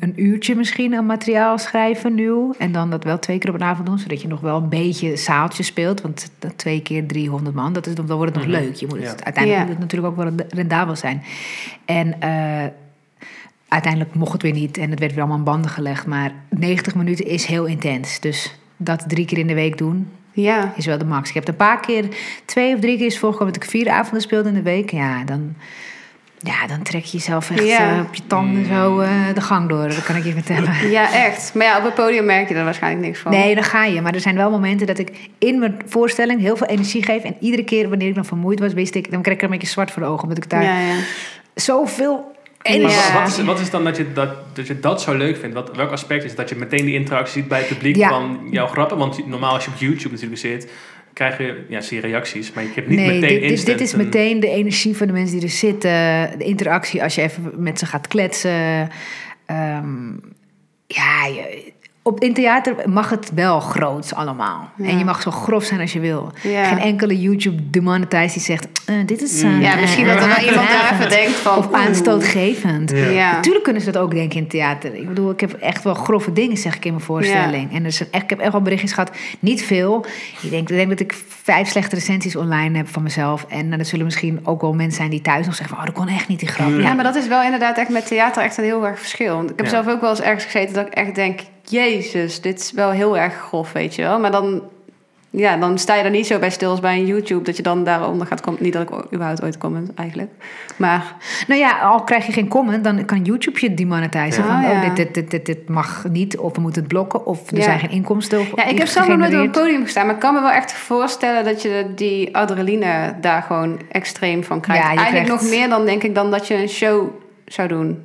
een uurtje misschien aan materiaal schrijven nieuw. En dan dat wel twee keer op een avond doen, zodat je nog wel een beetje zaaltje speelt. Want dat twee keer 300 man, dat is, dan wordt het nog Mhm. leuk. Je moet het, Ja. Uiteindelijk Ja. moet het natuurlijk ook wel rendabel zijn. En eh, uiteindelijk mocht het weer niet en het werd weer allemaal aan banden gelegd. Maar 90 minuten is heel intens. Dus dat drie keer in de week doen, Ja. is wel de max. Ik heb het een paar keer, twee of drie keer is voorgekomen dat ik vier avonden speelde in de week. Ja, dan, ja, dan trek je jezelf echt Ja. eh, op je tanden Mm. zo eh, de gang door. Dat kan ik je vertellen. ja, echt. Maar ja, op het podium merk je er waarschijnlijk niks van. Nee, dan ga je. Maar er zijn wel momenten dat ik in mijn voorstelling heel veel energie geef. En iedere keer wanneer ik dan vermoeid was, wist ik... dan kreeg ik er een beetje zwart voor de ogen. Omdat ik daar Ja, ja. zoveel Maar energie. Ja. wa- wat, is, wat is dan dat je dat, dat je dat zo leuk vindt? Wat, welk aspect is het dat je meteen die interactie ziet bij het publiek Ja. van jouw grappen? Want normaal als je op YouTube natuurlijk zit, krijg je, ja, zie je reacties, maar je hebt niet nee, meteen dit, dit, instant dit is een- meteen de energie van de mensen die er zitten. De interactie als je even met ze gaat kletsen. Ehm, ja, je- op, in theater mag het wel groots allemaal. Ja. En je mag zo grof zijn als je wil. Ja. Geen enkele YouTube demonetize die zegt... eh, dit is... eh, Ja, misschien dat er [LAUGHS] wel iemand daar even denkt van... Of oeh. aanstootgevend. Ja. Ja. Natuurlijk kunnen ze dat ook denken in theater. Ik bedoel, ik heb echt wel grove dingen, zeg ik in mijn voorstelling. En er zijn echt, ik heb echt wel berichtjes gehad, niet veel. Ik denk, ik denk dat ik vijf slechte recensies online heb van mezelf. En nou, dat zullen misschien ook wel mensen zijn die thuis nog zeggen van... oh, dat kon echt niet, die grap. Ja. Ja, Ja, maar dat is wel inderdaad echt met theater echt een heel erg verschil. Want Ik heb Ja. zelf ook wel eens ergens gezeten dat ik echt denk... Jezus, dit is wel heel erg grof, weet je wel. Maar dan, ja, dan sta je er niet zo bij stil als bij een YouTube... dat je dan daaronder gaat komen. Niet dat ik o- überhaupt ooit comment, eigenlijk. Maar Nou ja, al krijg je geen comment, dan kan YouTube je demonetizen. Ja. Van, Oh, ja. oh, dit, dit, dit, dit, dit mag niet, of we moeten het blokken... of er Ja. zijn geen inkomsten of ja, ik niet heb zelf nog nooit op een gegenereerd. podium gestaan... maar ik kan me wel echt voorstellen dat je die adrenaline daar gewoon extreem van krijgt. Ja, je eigenlijk krijgt- nog meer dan, denk ik, dan dat je een show zou doen.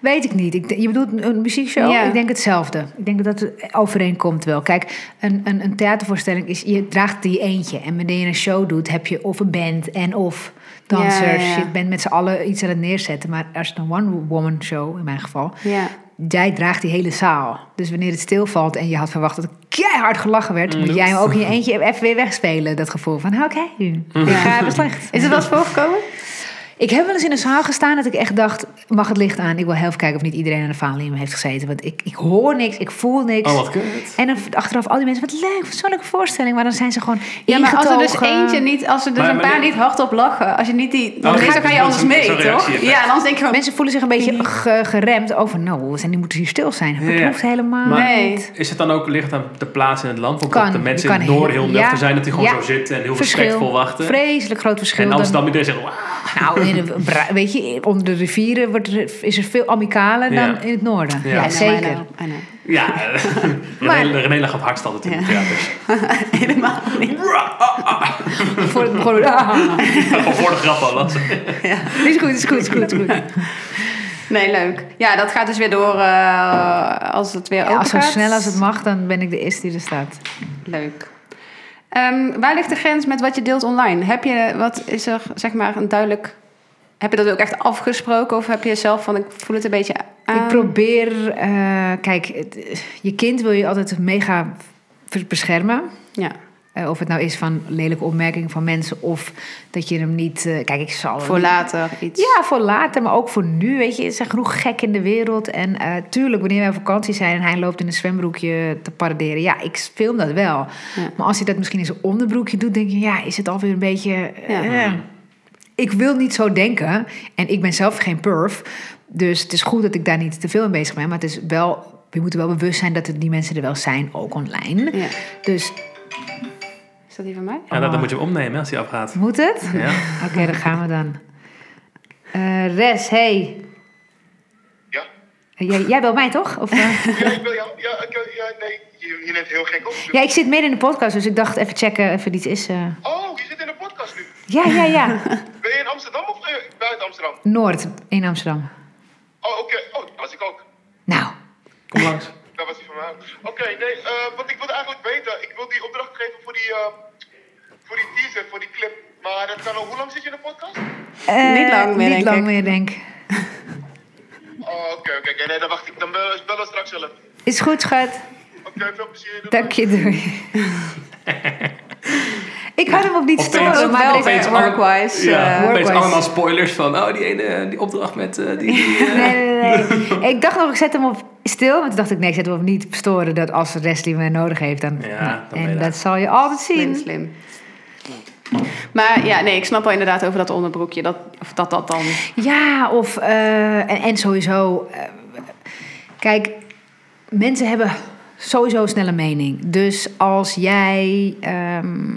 Weet ik niet. Ik, je bedoelt een muziekshow? Ja. Ik denk hetzelfde. Ik denk dat het overeenkomt wel. Kijk, een, een, een theatervoorstelling is... je draagt die eentje. En wanneer je een show doet, heb je of een band en of dansers. Ja, ja, ja. Je bent met z'n allen iets aan het neerzetten. Maar als het een one-woman show, in mijn geval... Ja. jij draagt die hele zaal. Dus wanneer het stilvalt en je had verwacht dat er keihard gelachen werd... Mm, moet oeps. jij hem ook in je eentje even weer wegspelen. Dat gevoel van, oké, ik ga even slecht. Is het wel eens voorgekomen? Ik heb wel eens in een zaal gestaan dat ik echt dacht... mag het licht aan? Ik wil heel even kijken of niet iedereen aan de falium heeft gezeten. Want ik, ik hoor niks, ik voel niks. Oh, wat kut. En dan achteraf al die mensen, wat leuk, wat zo'n leuke voorstelling. Maar dan zijn ze gewoon Ja, maar als er dus ingetogen. eentje niet, als er dus Maar- een maar paar dit- niet hardop lachen, als je niet die, dan, dit dan is ga je zo'n- anders zo'n- mee, zo'n toch? reactie, Ja, en anders Oh. denk je gewoon, Mensen voelen zich een beetje ge- geremd over... nou, we zijn, die moeten hier stil zijn. Dat Ja. hoeft helemaal Maar- nee. Is het dan ook ligt aan de plaats in het land? Want Kan, dat de je mensen kan in het noorden heel- heel nuchter ja, zijn, dat die gewoon ja. zo zitten en heel Verschil, respectvol wachten. vreselijk groot verschil. en dan- Amsterdam iedereen zegt, "Wauw." Nou, in de- bra- weet je, onder de rivieren wordt er- is er veel amicaler dan Ja. in het noorden. Ja. Ja, I know, I zeker. I know. [LAUGHS] ja, [LAUGHS] René, René lag op hardstand natuurlijk dus. in de [LAUGHS] theaters. Helemaal [LAUGHS] niet. Voor [LAUGHS] het begon... Ah, Gewoon voor de grap al. dat is- is goed, is goed, is goed, is goed. Nee, leuk. Ja, dat gaat dus weer door eh, als het weer Ja, open als zo gaat. snel als het mag, dan ben ik de eerste die er staat. Leuk. Ehm, waar ligt de grens met wat je deelt online? Heb je, wat is er, zeg maar, een duidelijk... Heb je dat ook echt afgesproken of heb je zelf van, ik voel het een beetje aan? Ik probeer, eh, kijk, het- je kind wil je altijd mega v- beschermen. Ja, Eh, of het nou is van lelijke opmerkingen van mensen of dat je hem niet. eh, kijk, ik zal. voor later iets. Ja, voor later, maar ook voor nu. Weet je, er zijn genoeg gek in de wereld. En eh, tuurlijk, wanneer wij op vakantie zijn en hij loopt in een zwembroekje te paraderen, ja, ik film dat wel. Maar als hij dat misschien in zijn onderbroekje doet, denk je, ja, is het alweer een beetje. Ja. eh, ik wil niet zo denken. En ik ben zelf geen perf. Dus het is goed dat ik daar niet te veel mee bezig ben. Maar het is wel. We moeten wel bewust zijn dat er die mensen er wel zijn, ook online. Ja. Dus Is dat die van mij? Ja, dan, dan moet je hem opnemen als hij [LAUGHS] afgaat. moet het? Ja. Oké, daar gaan we dan. Eh, Res, hey. Eh, Ja? Jij, jij belt mij toch? Of, eh? Ja, ik wil jou. Ja, ik, wil- ja nee, je, je neemt heel gek op. Dus- ja, ik zit midden in de podcast, dus ik dacht even checken of er iets is. eh. Oh, je zit in een podcast nu. Ja, ja, ja. Ben je in Amsterdam of eh, buiten Amsterdam? Noord in Amsterdam. Oh, oké. Oh, daar was ik ook. Nou, Kom langs. Daar was ik van mij. Oké, nee, eh want ik wilde eigenlijk weten. Ik wil die opdracht geven voor die, eh, voor die teaser, voor die clip. Maar dat kan al. Hoe lang zit je in de podcast? eh, Niet lang meer, Niet denk lang ik. meer, denk ik. Oh, oké, oké. oké. nee, dan wacht ik. Dan eh, bellen we straks zelf. Oké, Is goed, schat. veel plezier. Doei. Dank je, doei. ik had hem op niet Opeens- storen, maar er is- opeens bij Workwise, Ja, eh, opeens Workwise. allemaal spoilers van, oh, die ene, die opdracht met eh, die... [LAUGHS] die, eh, Nee, nee, nee. ik dacht nog, ik zet hem op stil. Maar toen dacht ik, nee, ik zet hem op niet storen. Dat als Wesley me nodig heeft, dan... Ja, nou, dan ben je en daar. dat zal je altijd zien. Slim, slim. Maar ja, nee, ik snap wel inderdaad over dat onderbroekje. Dat, of dat dat dan... Ja, of eh, en, en sowieso. eh, kijk, mensen hebben sowieso snel een mening. Dus als jij. ehm,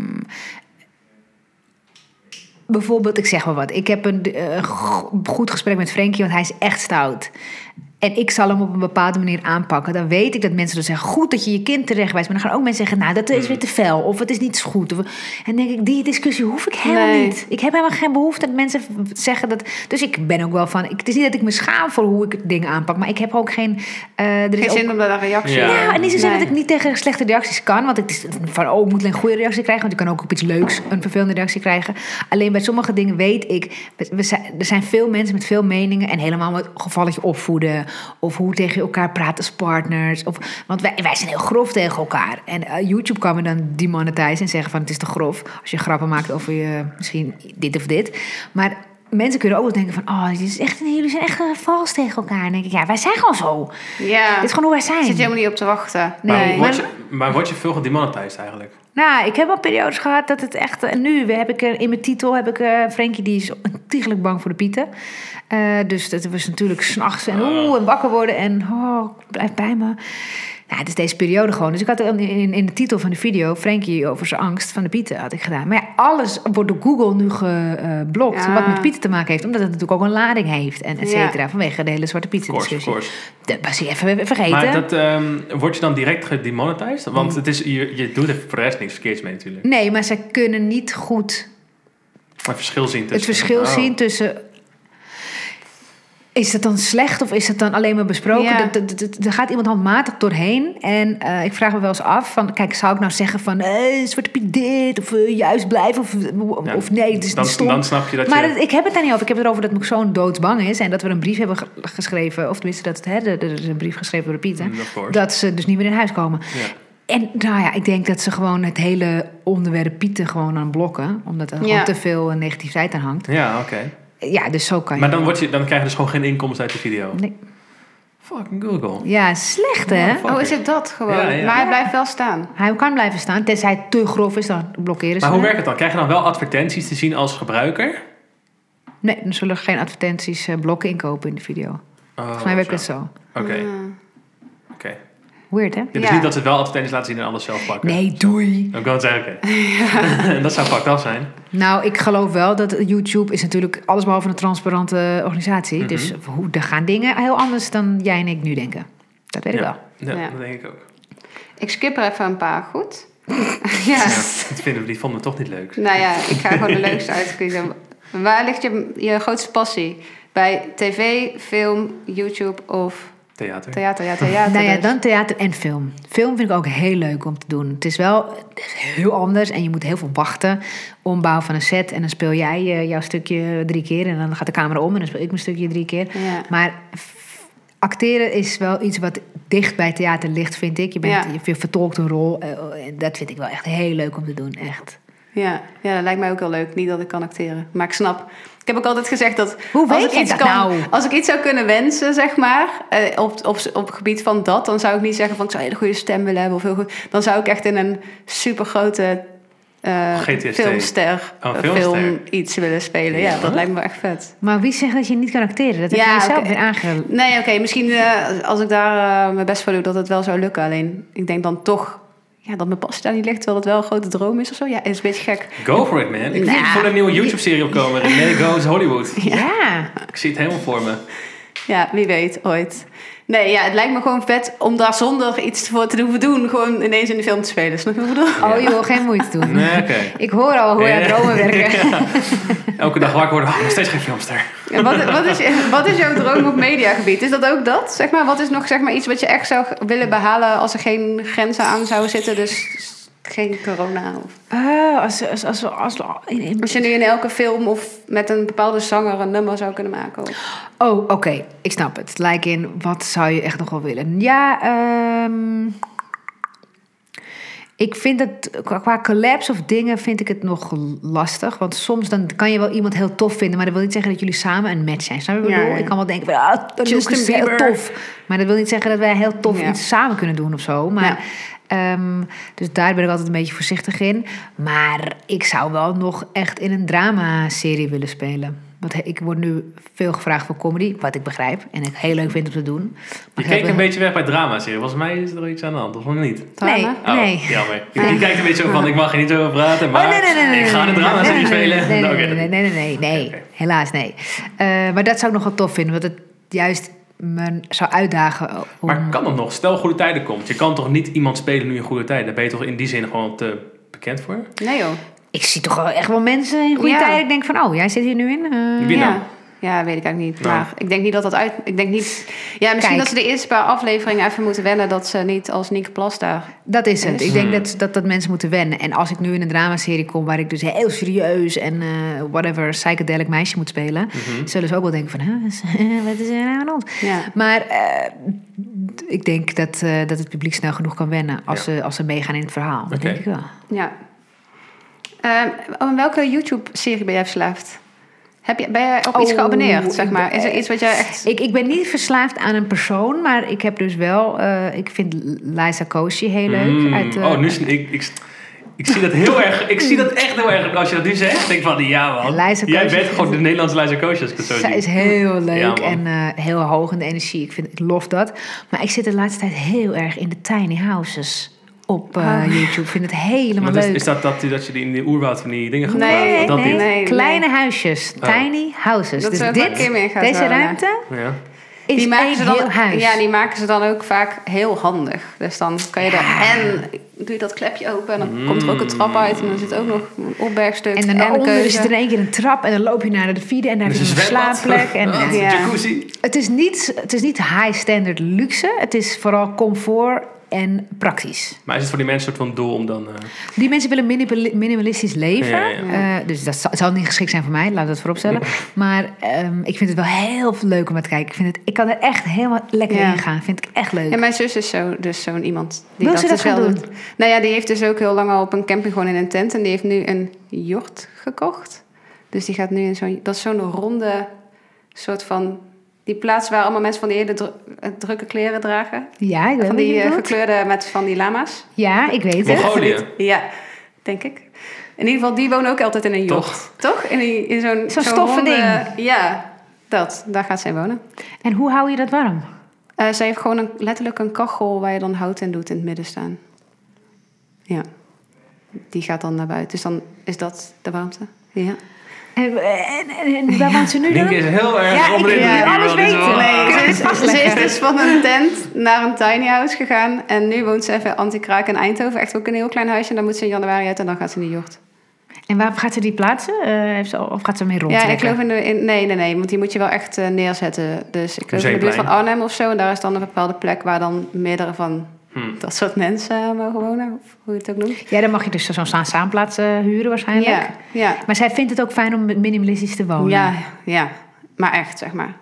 Bijvoorbeeld, ik zeg maar wat. Ik heb een eh, go- goed gesprek met Frenkie, want hij is echt stout. En ik zal hem op een bepaalde manier aanpakken. Dan weet ik dat mensen dan zeggen: goed dat je je kind terechtwijst. Maar dan gaan ook mensen zeggen: nou, dat is weer te fel. Of het is niet goed. Of, en dan denk ik: die discussie hoef ik helemaal Nee. niet. Ik heb helemaal geen behoefte dat mensen v- zeggen dat. Dus ik ben ook wel van. Ik, het is niet dat ik me schaam voor hoe ik dingen aanpak. Maar ik heb ook geen. eh, er is Geen ook- zin om daar een reactie Ja. op. nou, en niet zozeer Nee. dat ik niet tegen slechte reacties kan. Want het is van, oh, ik moet alleen een goede reactie krijgen. Want ik kan ook op iets leuks een vervelende reactie krijgen. Alleen bij sommige dingen weet ik... we- we zijn- er zijn veel mensen met veel meningen. En helemaal met gevalletje opvoeden. Of hoe tegen elkaar praten als partners. Of, want wij, wij zijn heel grof tegen elkaar. En eh, YouTube kan me dan demonetizen en zeggen van... het is te grof als je grappen maakt over je, misschien dit of dit. Maar... Mensen kunnen ook wel denken van, oh, dit is echt, jullie zijn echt eh, vals tegen elkaar. En dan denk ik, ja, wij zijn gewoon zo. Ja, Dit is gewoon hoe wij zijn. zit je helemaal niet op te wachten. Maar, Nee. word je, maar word je veel gedemonetized eigenlijk? Nou, ik heb wel periodes gehad dat het echt... En nu heb ik eh, in mijn titel heb ik eh Frankie, die is ontiegelijk bang voor de pieten. Eh, dus dat was natuurlijk s'nachts en Ah. oeh, en wakker worden en oh, blijf bij me. Nou, het is deze periode gewoon. Dus ik had in, in, in de titel van de video Frankie over zijn angst van de pieten had ik gedaan. Maar ja, alles wordt door Google nu geblokt Ja. wat met pieten te maken heeft. Omdat het natuurlijk ook een lading heeft en et Ja. cetera. Vanwege de hele zwarte pieten Of course, of discussie. course. Dat was ik even vergeten. Maar dat, ehm, word je dan direct gedemonetized? Mm. Want het is, je, je doet er voor de rest niks verkeerds mee natuurlijk. Nee, maar zij kunnen niet goed Maar verschil zien tussen... het verschil Oh. zien tussen. Is dat dan slecht of is dat dan alleen maar besproken? Ja. Dat, dat, dat- daar gaat iemand handmatig doorheen. En eh, ik vraag me wel eens af: van, kijk, zou ik nou zeggen van eh, Zwarte Piet dit? Of eh, juist blijven? Of, Ja, of nee, het is dan, niet stom. dan snap je dat maar je... dat- ik heb het daar niet over. Ik heb het erover dat mijn zoon doodsbang is. En dat we een brief hebben ge- geschreven. Of tenminste, dat, hè, er er is een brief geschreven door de Piet. hè, Mm, of course. dat ze dus niet meer in huis komen. Ja. En nou ja, ik denk dat ze gewoon het hele onderwerp Pieten gewoon aan blokken. Omdat er Ja. gewoon te veel eh, negativiteit aan hangt. Ja, oké. Ja, dus zo kan je. Maar dan, word je, dan krijg je dus gewoon geen inkomsten uit die video. Nee. Fucking Google. Ja, slecht hè? fuck. Oh, is het dat gewoon? Ja, ja. Maar hij blijft wel staan. Hij kan blijven staan, tenzij het te grof is, dan blokkeren ze Maar hoe hem. werkt het dan? Krijg je dan wel advertenties te zien als gebruiker? Nee, dan zullen er geen advertenties eh, blokken inkopen in de video. Oh, Volgens mij werkt zo. het zo. Oké, oké. Ja. Weird hè? Ja, dus Ja. niet dat ze wel advertenties laten zien en alles zelf pakken. Nee, doei. Dan kan het zeggen, [LAUGHS] oké. [LAUGHS] dat zou fucked af zijn. Nou, ik geloof wel dat YouTube is natuurlijk allesbehalve een transparante organisatie. Mhm. Dus hoe, er gaan dingen heel anders dan jij en ik nu denken. Dat weet ik wel. Ja, Ja. dat denk ik ook. Ik skip er even een paar, goed? [LAUGHS] Ja. ja. Dat vinden we, die vonden we toch niet leuk. Nou ja, ik ga gewoon de leukste uitkiezen. Waar ligt je, je grootste passie? Bij tv, film, YouTube of Theater. theater? Ja, theater. nou ja, dus. dan theater en film. Film vind ik ook heel leuk om te doen. Het is wel heel anders en je moet heel veel wachten. Ombouw van een set en dan speel jij eh, jouw stukje drie keer en dan gaat de camera om en dan speel ik mijn stukje drie keer. Ja. Maar f- acteren is wel iets wat dicht bij theater ligt, vind ik. Je, bent, Ja. je- je vertolkt een rol eh, en dat vind ik wel echt heel leuk om te doen, echt. Ja, ja, dat lijkt mij ook heel leuk. Niet dat ik kan acteren, maar ik snap. Ik heb ook altijd gezegd dat Hoe als weet ik jij iets dat kan, nou? als ik iets zou kunnen wensen, zeg maar, eh, op, op, op het gebied van dat, dan zou ik niet zeggen van ik zou een hele goede stem willen hebben of heel goed. Dan zou ik echt in een supergrote eh GTST. filmster, Oh, eh, filmster. film iets willen spelen. Ja, Ja. dat lijkt me echt vet. Maar wie zegt dat je niet kan acteren? Dat heb Ja, je zelf oké. weer aange... Nee, oké, misschien eh, als ik daar eh, mijn best voor doe, dat het wel zou lukken. Alleen ik denk dan toch ja, dat mijn passie daar niet ligt, terwijl het wel een grote droom is of zo. Ja, is een beetje gek. Go for it, man. Ik Nou. zie voor een nieuwe YouTube-serie opkomen. René Goes Hollywood. Ja. Ik zie het helemaal voor me. Ja, wie weet, ooit. Nee, ja, het lijkt me gewoon vet om daar zonder iets voor te hoeven doen, gewoon ineens in de film te spelen. Snap je wat ik bedoel? Oh joh, geen moeite doen. Nee, oké. Ik hoor al hoe je aan Ja. dromen werken. Elke dag wakker worden. Oh, nog steeds geen filmster. En wat, wat, is, wat is jouw droom op mediagebied? Is dat ook dat? Zeg maar, wat is nog zeg maar, iets wat je echt zou willen behalen als er geen grenzen aan zouden zitten? Dus geen corona of... Ah, als, als, als, als, in- in- Als je nu in elke film of met een bepaalde zanger een nummer zou kunnen maken. of- Oh, oké. Ik snap het. Like in, wat zou je echt nog wel willen? Ja, ehm, ik vind het, qua- qua collabs of dingen vind ik het nog lastig. Want soms dan kan je wel iemand heel tof vinden... maar dat wil niet zeggen dat jullie samen een match zijn. Snap je wat ik Ja, bedoel? ja. Ik kan wel denken, van, ah, dat Justin is heel Bieber. tof. Maar dat wil niet zeggen dat wij heel tof Ja. iets samen kunnen doen of zo. Maar, Ja. ehm, dus daar ben ik altijd een beetje voorzichtig in. Maar ik zou wel nog echt in een dramaserie willen spelen. Want he- ik word nu veel gevraagd voor comedy, wat ik begrijp. En ik heel leuk vind om te doen. Je Maar keek heel- een beetje weg bij drama's hier. Volgens mij is er iets aan de hand, of niet? Nee, Drama? Oh, nee. jammer. Je, je kijkt een beetje zo van, ik mag er niet over praten, maar Oh, nee, nee, nee, nee, ik ga nee, een nee, drama nee, nee, serie nee, spelen. Nee, Oké. nee, nee, nee, nee, nee, nee, nee. Oké. Helaas, nee. Eh, maar dat zou ik nog wel tof vinden. Want het juist me zou uitdagen om... Maar kan dat nog? Stel goede tijden komt. Je kan toch niet iemand spelen nu in goede tijden? Daar ben je toch in die zin gewoon te bekend voor? Nee joh. Ik zie toch wel echt wel mensen in goede Ja. tijden. Ik denk van, oh, jij zit hier nu in. Eh, Wie nou? Ja. ja, weet ik eigenlijk niet. Nou. Maar ik denk niet dat dat uit... Ik denk niet... Ja, misschien Kijk. dat ze de eerste paar afleveringen even moeten wennen... dat ze niet als Nick Plas daar... Dat is het. Is- Ik denk Hmm. dat, dat dat mensen moeten wennen. En als ik nu in een dramaserie kom waar ik dus heel serieus en eh, whatever psychedelic meisje moet spelen, Mhm. zullen ze ook wel denken van, huh, is- [LAUGHS] wat is er nou aan ons? Ja. Maar eh, ik denk dat, eh, dat het publiek snel genoeg kan wennen als, ze, als ze meegaan in het verhaal. Dat Oké. denk ik wel. Ja. Ehm, oh, en welke YouTube-serie ben jij verslaafd? Heb je, ben jij op iets Oh, eh, geabonneerd, zeg ik maar? ben- Is er iets wat jij echt... Ik, ik ben niet verslaafd aan een persoon, maar ik heb dus wel, eh, ik vind Liza Koshy heel leuk. Mm, uit, eh, oh, nu zie ik, ik, ik zie dat heel erg. Ik zie dat echt heel erg. Als je dat nu zegt, denk ik van ja man. Liza Jij Koshy bent is- gewoon de Nederlandse Liza Koosje als ik het zo Zij zie. is heel leuk man. en eh, heel hoog in de energie. Ik, vind, ik lof dat. Maar ik zit de laatste tijd heel erg in de tiny houses op eh, Ah. YouTube. Ik vind het helemaal Want is, leuk. is dat, dat, dat je die in de oerwoud van die dingen gaat Nee, praten? Nee, dat nee, niet? Nee, nee. Kleine huisjes. Oh. Tiny houses. Dat dus ze ook wel een dit, keer meer gaat deze wonen. ruimte Ja. is die maken een ze dan, heel huis. Ja, die maken ze dan ook vaak heel handig. Dus dan kan je daar... En doe je dat klepje open en dan komt er ook een trap uit. En dan zit ook nog een opbergstuk en een daaronder keuken. is het in één keer een trap en dan loop je naar de vierde en daar Dus is een zwembad. slaapplek. En, [LAUGHS] Oh, Ja. Jacuzzi. het, is niet, het is niet high standard luxe, het is vooral comfort en praktisch. Maar is het voor die mensen een soort van doel om dan... eh, Die mensen willen minipali- minimalistisch leven. Ja, ja, Eh, dus dat zal, zal niet geschikt zijn voor mij, laat dat vooropstellen. Maar ehm, ik vind het wel heel leuk om naar te kijken. Ik, vind het, ik kan er echt helemaal lekker Ja. in gaan. Vind ik echt leuk. Ja, mijn zus is zo, dus zo'n iemand die Wil dat, ze dat dus wel gaan doen? doet. Nou ja, die heeft dus ook heel lang al op een camping gewoon in een tent. En die heeft nu een jort gekocht. Dus die gaat nu in zo'n... Dat is zo'n ronde soort van... Die plaats waar allemaal mensen van die hele dru- eh, drukke kleren dragen. ja, ik weet Van wat die je eh, bedoelt. gekleurde met van die lama's. Ja, ik weet het. Mongolië. Ja, denk ik. In ieder geval, die wonen ook altijd in een jort. Toch? Toch? In, die- in zo'n... Zo'n zo'n stoffen ronde- Ja, dat. Daar gaat zij wonen. En hoe hou je dat warm? Eh, zij heeft gewoon een, letterlijk een kachel waar je dan hout in doet in het midden staan. Ja. Die gaat dan naar buiten. Dus dan is dat de warmte. Ja. En, en, en- en waar woont ze nu Link dan? is heel erg... Ja, ik rommelig. wil Ja, alles dit is wel- weten. Nee. Kunnen we [LAUGHS] dit ze is vastleggen? dus van een tent naar een tiny house gegaan. En nu woont ze even anti-kraak in Eindhoven. Echt ook een heel klein huisje. En dan moet ze in januari uit en dan gaat ze in de jort. En waar gaat ze die plaatsen? Eh, heeft ze, al- of gaat ze mee Ja, rondtrekken? ik geloof in, de, in... Nee, nee, nee. Want die moet je wel echt eh, neerzetten. Dus ik geloof in de buurt van Museumplein. Arnhem of zo. En daar is dan een bepaalde plek waar dan meerdere van Hmm. dat soort mensen eh, mogen wonen. Of hoe je het ook noemt. Ja, dan mag je dus zo'n staan- staanplaats eh, huren waarschijnlijk. Ja, ja. Maar zij vindt het ook fijn om minimalistisch te wonen. Ja, ja, maar echt, zeg maar.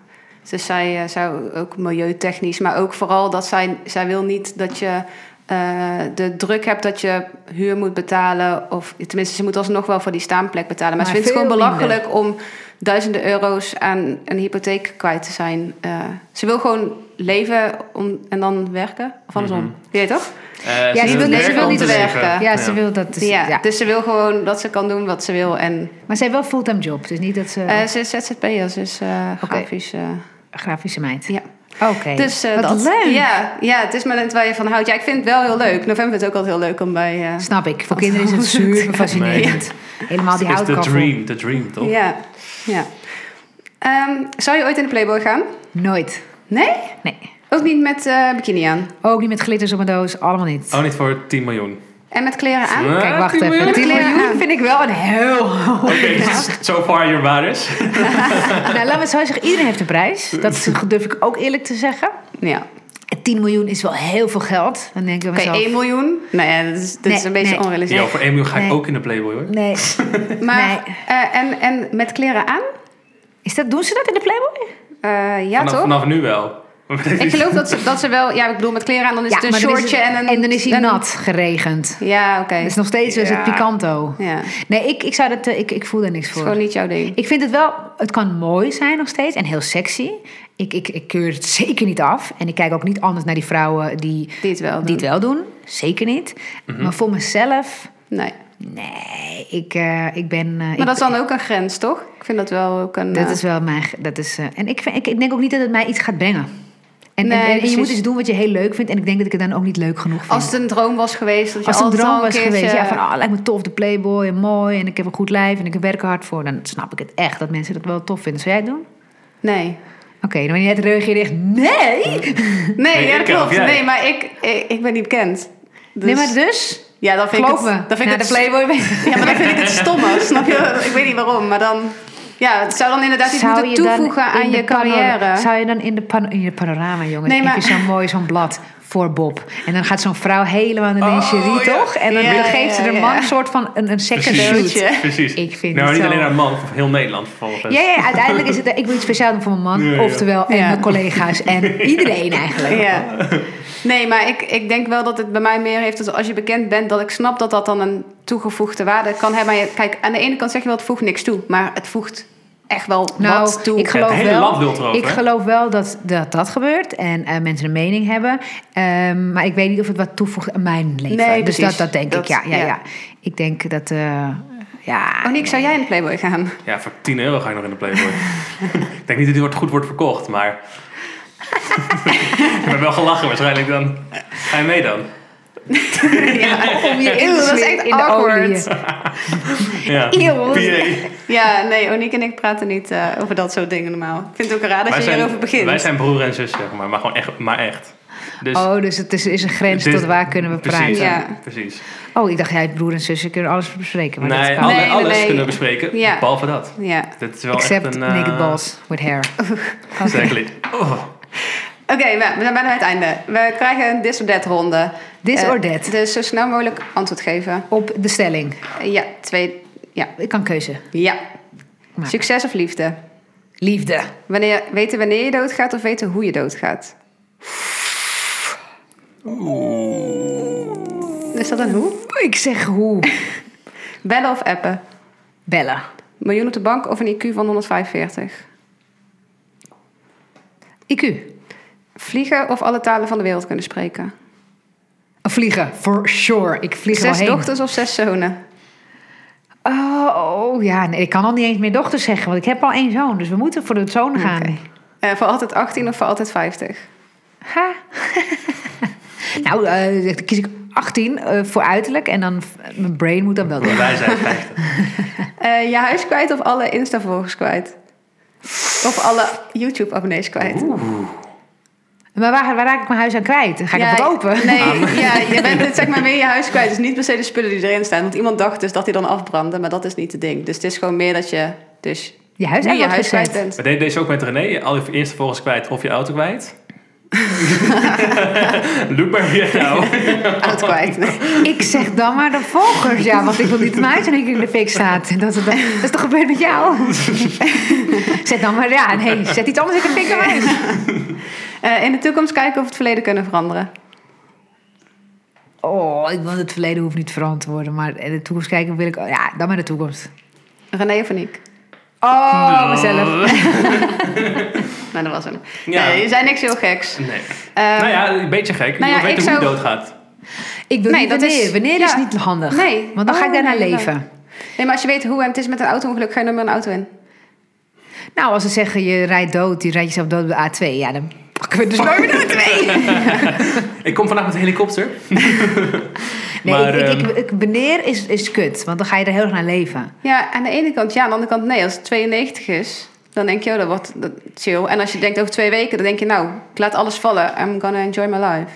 Dus zij eh, zou ook milieutechnisch, maar ook vooral dat zij, zij wil niet dat je eh, de druk hebt dat je huur moet betalen. Of tenminste, ze moet alsnog wel voor die staanplek betalen. Maar, Maar ze vindt het veel gewoon minder. belachelijk om duizenden euro's aan een hypotheek kwijt te zijn. Eh, ze wil gewoon leven om, en dan werken. Of andersom. Mhm. Weet je toch? Eh, ze Ja, die wil- wil nee, ze wil om niet te werken. zeggen. Ja, ze wil dat. Dus, ja, ja. Dus ze wil gewoon dat ze kan doen wat ze wil. En Maar zij heeft wel fulltime job, dus niet dat ze eh, ze is ZZP'er, ze is eh Oké. grafisch... eh, grafische meid. ja. Oké. Dus eh, Wat dat, leuk. Ja, ja, het is maar net waar je van houdt. Ja, ik vind het wel heel leuk. November is ook altijd heel leuk om bij... eh, Snap ik. Voor kinderen is het super fascinerend. Helemaal die Het is de houtkaffel. dream, de dream, toch? ja, ja. Ehm, zou je ooit in de Playboy gaan? Nooit. Nee? Nee. Ook niet met eh, bikini aan? Ook niet met glitters op mijn doos. Allemaal niet. Oh, niet voor 10 miljoen. En met kleren aan? Eh, Kijk, wacht 10 miljoen? even. 10 Kleren miljoen aan. vind ik wel een heel hoog. [LAUGHS] Oké, dus so far your waardes. Nou, laten we het zo zeggen. Iedereen heeft een prijs. [LAUGHS] Dat durf ik ook eerlijk te zeggen. Ja. En 10 miljoen is wel heel veel geld. Dan denk ik bij Oké, mezelf... 1 miljoen? Nou ja, dat is, dat is Nee, een beetje nee. onrealistisch. Ja, voor 1 miljoen ga ik Nee. ook in de Playboy, hoor. Nee. Maar, Nee. eh, en, en met kleren aan? Is dat, doen ze dat in de Playboy? Eh, ja, vanaf, toch? vanaf nu wel. [LAUGHS] Ik geloof dat ze, dat ze wel... Ja, ik bedoel, met kleren aan, dan is Dus het een maar dan is shortje het- en een... En dan is hij een- nat geregend. Ja, oké. Het is nog steeds dus het Ja. picanto. Ja, het is Nee, ik, ik, zou dat, eh, ik, ik voel daar niks voor. gewoon niet jouw ding. Ik vind het wel, het kan mooi zijn nog steeds en heel sexy. Ik, ik, ik keur het [LAUGHS] zeker niet af. En ik kijk ook niet anders naar die vrouwen die, Die het wel doen. die het wel doen. Zeker niet. Mhm. Maar voor mezelf, Nee. nee, ik, eh, ik ben. eh, ik- Maar dat is dan ook een grens, toch? Ik vind dat wel ook een... dat eh, is wel mijn. Dat is, eh, en ik, vind- ik, ik denk ook niet dat het mij iets gaat brengen. En, Nee, en- en, je precies. moet iets doen wat je heel leuk vindt. En ik denk dat ik het dan ook niet leuk genoeg vind. Als het een droom was geweest, dat je Als het een altijd droom al eh, was keertje- geweest, ja, van ah, lijkt me tof, de playboy en mooi en ik heb een goed lijf en ik werk er hard voor, dan snap ik het echt dat mensen dat wel tof vinden. Zou jij het doen? Nee. Oké, dan wanneer het reageerde echt, nee! Nee, Nee, ja, ik dat ken klopt. of jij. Nee, maar ik, ik, ik ben niet bekend. Dus, Nee, maar dus, ja, dan vind ik geloof het, me, dan vind ik na het de Playboy ben je- [LAUGHS] Ja, maar dan vind ik het stom ook, snap je? Ik weet niet waarom, maar dan... Ja, het zou dan inderdaad iets moeten dan toevoegen in aan de je pano- carrière. Zou je dan in de, pan- in de panorama, jongen, Nee, nee, maar... maar- heb je zo'n mooi zo'n blad voor Bob. En dan gaat zo'n vrouw helemaal in de Oh, lingerie, ja. toch? En dan Ja, dan geeft ze ja, de ja. man een soort van een, een second Precies. shoot. Precies. Ik vind nou, het niet zo- alleen haar man, voor heel Nederland vervolgens. Ja, ja, uiteindelijk is het, eh, ik wil iets speciaals doen voor mijn man. Ja, ja. Oftewel, en Ja. mijn collega's en iedereen eigenlijk. Ja. Nee, maar ik, ik denk wel dat het bij mij meer heeft... Dat als je bekend bent, dat ik snap dat dat dan een toegevoegde waarde kan hebben. Maar je- kijk, aan de ene kant zeg je wel, het voegt niks toe. Maar het voegt echt wel Nou, wat toe. ik Ja, het geloof hele land wel, lult erover, ik hè? geloof wel dat, dat dat gebeurt en eh, mensen een mening hebben. Ehm, maar ik weet niet of het wat toevoegt aan mijn leven. Nee, dus precies. dat, dat denk Dat- ik, ja, ja, ja. ja. Ik denk dat, eh, ja... Oh, Nick, zou jij in de Playboy gaan? Ja, voor 10 euro ga ik nog in de Playboy. [LAUGHS] ik denk niet dat die wordt goed wordt verkocht, maar... [LAUGHS] ik ben wel gelachen waarschijnlijk dan. Ga je mee dan? [LAUGHS] ja, om je in te Dat is smeren echt in de awkward. olie. Ja. Eeuw. PA. Ja, nee, Oniek en ik praten niet eh, over dat soort dingen normaal. Ik vind het ook raar dat Wij je hierover begint. wij zijn broer en zus, zeg maar. Maar gewoon echt. Maar echt. Dus, Oh, dus het is, is een grens dit- tot waar kunnen we praten. Precies, Ja. precies. Oh, ik dacht, jij broer en zussen kunnen alles bespreken. Maar dat Nee, kan alle- Nee, niet. nee, alles nee. kunnen we bespreken, Ja. behalve dat. Ja. Dit is wel Except echt een... naked eh, balls with hair. Exactly. Oh. Oké, we we zijn bijna bij het einde. We krijgen een this or that ronde. This Eh, or that. Dus zo snel mogelijk antwoord geven. Op de stelling. Eh, ja, twee. Ja. Ik kan keuze. ja. Maar- Succes of liefde? Liefde. Wanneer, weten wanneer je doodgaat of weten hoe je doodgaat? Is dat een hoe? Ik zeg [LAUGHS] hoe? Bellen of appen? Bellen. Miljoen op de bank of een IQ van 145? IQ. Vliegen of alle talen van de wereld kunnen spreken? Vliegen, for sure. Ik vlieg wel Zes heen. dochters of zes zonen? Oh, oh, ja, nee, ik kan al niet eens meer dochter zeggen, want ik heb al één zoon. Dus we moeten voor de zoon gaan. Oké. Eh, voor altijd 18 of voor altijd 50? Ha. [LAUGHS] nou, eh, dan kies ik 18 eh, voor uiterlijk en dan mijn brain moet dan wel door. Wij [LAUGHS] zijn 50. Eh, je huis kwijt of alle Insta-volgers kwijt? Of alle YouTube-abonnees kwijt? Maar waar, waar raak ik mijn huis aan kwijt? Ga ik Ah, Ja, het verkopen? Nee, ja, je bent het, zeg maar meer je huis kwijt. Dus niet per se de spullen die erin staan. Want iemand dacht dus dat die dan afbrandde, maar dat is niet het ding. Dus het is gewoon meer dat je dus Je huis nu aan je wordt huis kwijt gezet. bent. We deden deze ook met René. Je Al je eerste volgens kwijt of je auto kwijt. Loop maar weer nou. Oud kwijt. [LAUGHS] Nee. Ik zeg dan maar de volgers, ja, want ik wil [LAUGHS] niet dat mijn huis in één keer in de fik staat. Dat, dat, dat is toch gebeurd met jou? [LAUGHS] zet dan maar, ja, nee, zet iets anders in de fik dan mij. Eh, in de toekomst kijken of het verleden kunnen veranderen. Oh, ik wil het verleden hoeft niet veranderd te worden, maar in de toekomst kijken wil ik. Ja, dan maar de toekomst. René of Nick? Oh, mezelf. Nou, dat was hem. Ja. Nee, je zei niks heel geks. Nee. Eh, nou ja, een beetje gek. nou ja, je ik weet hoe zou- je doodgaat. Ik wil Nee, niet dat wanneer. is- wanneer is ja. niet handig. Nee. Want dan ga ik Oh, daarna nee, nee. leven. Nee, maar als je weet hoe en het is met een auto-ongeluk, ga je dan met een auto in. Nou, als ze zeggen je rijdt dood, je rijdt jezelf dood op de A2, ja, dan pakken we dus nooit meer de [LAUGHS] A2. Ik kom vandaag met de helikopter. [LAUGHS] Nee, Maar, ik, ik, ehm, ik, ik- wanneer is, is kut, want dan ga je er heel erg naar leven. Ja, aan de ene kant ja, aan de andere kant nee. Als het 92 is, dan denk je, oh, dat wordt dat, chill. En als je denkt over twee weken, dan denk je, nou, ik laat alles vallen. I'm gonna enjoy my life.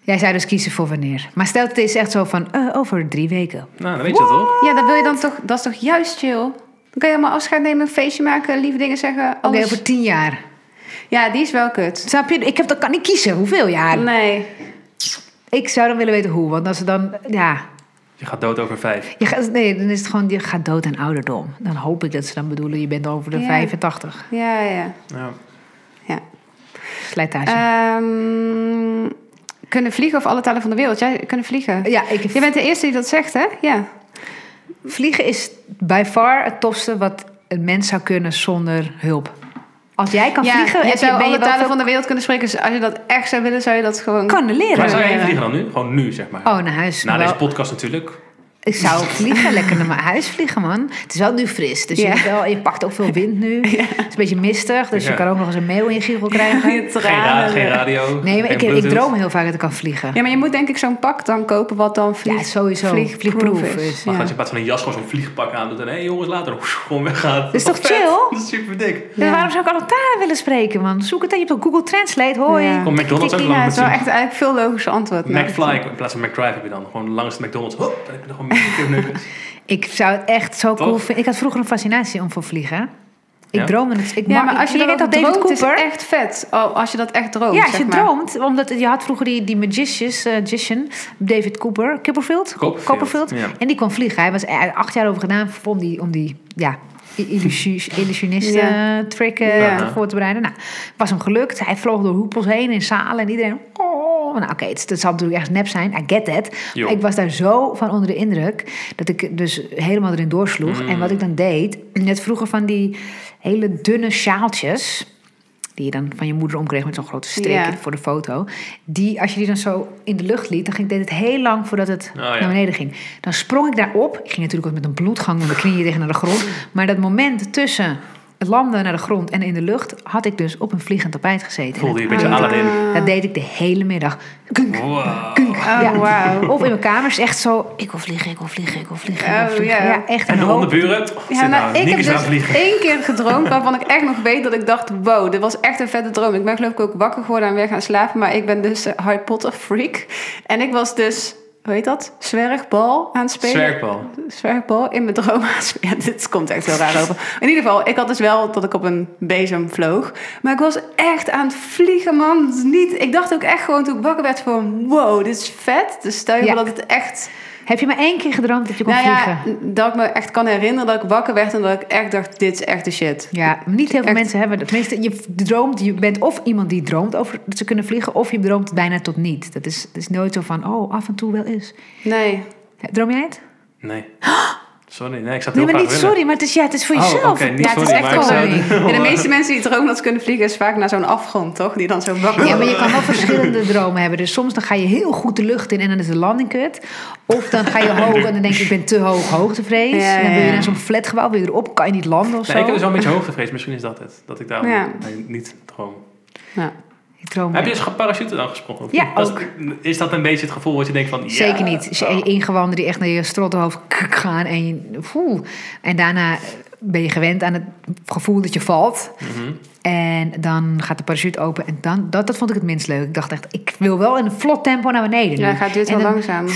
Jij zou dus kiezen voor wanneer. Maar stel het is echt zo van eh, over drie weken. Nou, dan weet je dat toch? Ja, dat wil je dan toch, dat is toch juist chill? Dan kan je helemaal afscheid nemen, een feestje maken, lieve dingen zeggen. Oké, Alles. over tien jaar. Ja, die is wel kut. Snap je? Ik heb, dat kan niet kiezen hoeveel jaar. Nee. Ik zou dan willen weten hoe, want als ze dan, ja, Je gaat dood over vijf. Je gaat, nee, dan is het gewoon, je gaat dood aan ouderdom. Dan hoop ik dat ze dan bedoelen, je bent over de Ja. 85. Ja, ja. Ja. ja. Slijtage. Eh, Ehm, kunnen vliegen of alle talen van de wereld? Jij kunnen vliegen. ja, ik, Je bent de eerste die dat zegt, hè? Ja. vliegen is by far het tofste wat een mens zou kunnen zonder hulp. Als jij kan ja, vliegen, je heb zou ben alle je wel talen veel- van de wereld kunnen spreken. Dus als je dat echt zou willen, zou je dat gewoon... kan leren. Waar zou jij Ja. heen vliegen dan nu? Gewoon nu, zeg maar. Oh, naar huis. Na wel. deze podcast natuurlijk. Ik zou vliegen, lekker naar mijn huis vliegen, man. Het is wel nu fris, dus Ja. je, hebt wel, je pakt ook veel wind [LAUGHS] nu. Het is een beetje mistig, dus Ja. je kan ook nog eens een mail in je giegel [LAUGHS] krijgen. Je Geen, ra- tranen. geen radio. Nee, geen maar ik, ik Bluetooth. droom heel vaak dat ik kan vliegen. Ja, maar je moet denk ik zo'n pak dan kopen wat dan vlieg, Ja, sowieso. vliegproof Vliegproof is. is. Maar Ja. dat je in plaats van een jas gewoon zo'n vliegpak aan doet en hé hey, jongens, later [LAUGHS] gewoon weggaat. is Wat toch vet. chill? Dat is super dik. Ja. Dus waarom zou ik alle talen willen spreken, man? Zoek het aan, je hebt op Google Translate, hoi. Ja. Komt McDonald's ook Tik, wel tik, Ja, met het is wel z'n- echt eigenlijk veel logischer antwoord. Nou, McFly in plaats van McDrive heb je dan. Gewoon langs de McDonald's. Hop, dan heb je er gewoon McNuggets. Ik zou het echt zo Toch? cool vinden. Ik had vroeger een fascinatie om voor vliegen. Ik Ja? droomde het. Ik Ja, mag- maar als je, ik- dat weet droomt, David Cooper. is het echt vet. Oh, als je dat echt droomt, ja, als je zeg maar. droomt, omdat het- je had vroeger die, die magicians, eh, magician, David Cooper, Copperfield, Copperfield, ja. en die kon vliegen. Hij was er acht jaar over gedaan om die, om die ja, i- illusie- illusionist Ja. eh, trick eh, Ja. te voor te bereiden. Nou, was hem gelukt. Hij vloog door hoepels heen in zalen en iedereen, oh, nou oké, het, het zal natuurlijk echt nep zijn, I get that. Jo. Maar ik was daar zo van onder de indruk dat ik dus helemaal erin Mm. doorsloeg. En wat ik dan deed, net vroeger van die hele dunne sjaaltjes. Die je dan van je moeder omkreeg met zo'n grote strik Ja. voor de foto. Die, als je die dan zo in de lucht liet, dan ging, deed het heel lang voordat het Oh, ja. naar beneden ging. Dan sprong ik daarop. Ik ging natuurlijk ook met een bloedgang met mijn knieën tegen naar de grond. Maar dat moment tussen het landen naar de grond en in de lucht... had ik dus op een vliegend tapijt gezeten. Voelde je een En dat beetje hangt- Aladdin. Dat deed ik de hele middag. Kunk, Wow. kunk. Oh, ja. wauw. Of in mijn kamer is echt zo... Ik wil vliegen, ik wil vliegen, ik wil vliegen, ik wil Oh, ja. vliegen. Ja, echt En een de hoop. onderburen. Oh, Ja, nou, ik heb niks aan dus vliegen. één keer gedroomd waarvan ik echt nog weet dat ik dacht... wow, dit was echt een vette droom. Ik ben geloof ik ook wakker geworden en weer gaan slapen. Maar ik ben dus eh, Harry Potter freak. En ik was dus, hoe heet dat? Zwergbal aan het spelen. Zwerkbal. Zwerkbal in mijn droom. [LAUGHS] Ja, dit komt echt heel raar over. In ieder geval, ik had dus wel dat ik op een bezem vloog. Maar ik was echt aan het vliegen, man. Het is Niet, ik dacht ook echt gewoon toen ik wakker werd van... wow, dit is vet. Dus stel je Ja. voor dat het echt... Heb je maar één keer gedroomd dat je kon Nou vliegen? ja, dat ik me echt kan herinneren dat ik wakker werd... en dat ik echt dacht, dit is echt de shit. Ja, maar niet heel veel Echt. mensen hebben dat. Tenminste, je droomt, je bent of iemand die droomt over dat ze kunnen vliegen, of je droomt bijna tot niet. Dat is, dat is nooit zo van, oh, af en toe wel eens. Nee. Droom jij het? Nee. [GASPS] Sorry, nee, ik zat heel Nee, maar graag niet willen. sorry, maar het is, ja, het is voor Oh, jezelf. oké, niet ja, het sorry, is maar ik echt zou- [LAUGHS] gewoon. En de meeste mensen die dromen dat ze kunnen vliegen... is vaak naar zo'n afgrond, toch? Die dan zo wakker Ja, maar worden. je kan wel verschillende dromen hebben. Dus soms dan ga je heel goed de lucht in en dan is de landing kut. Of dan [LAUGHS] ga je hoog en dan denk je, ik ben te hoog hoogtevrees. Ja, En dan ja, wil je ja. naar zo'n flatgebouw, wil je erop, kan je niet landen of zo. Nee, ik heb dus wel een beetje hoogtevrees. Misschien is dat het. Dat ik daar Ja. nee, niet droom. Ja. Ik droom Heb je eens ge- parachute dan gesprongen? of Ja, niet? Dat is- ook. Is dat een beetje het gevoel wat je denkt van... ja, Zeker niet. Dus oh. je ingewanden die echt naar je strottenhoofd k- gaan en je, foe. En daarna ben je gewend aan het gevoel dat je valt. Mhm. En dan gaat de parachute open. En dan, dat, dat vond ik het minst leuk. Ik dacht echt, ik wil wel in een vlot tempo naar beneden. nu. Ja, gaat dit en wel dan langzaam.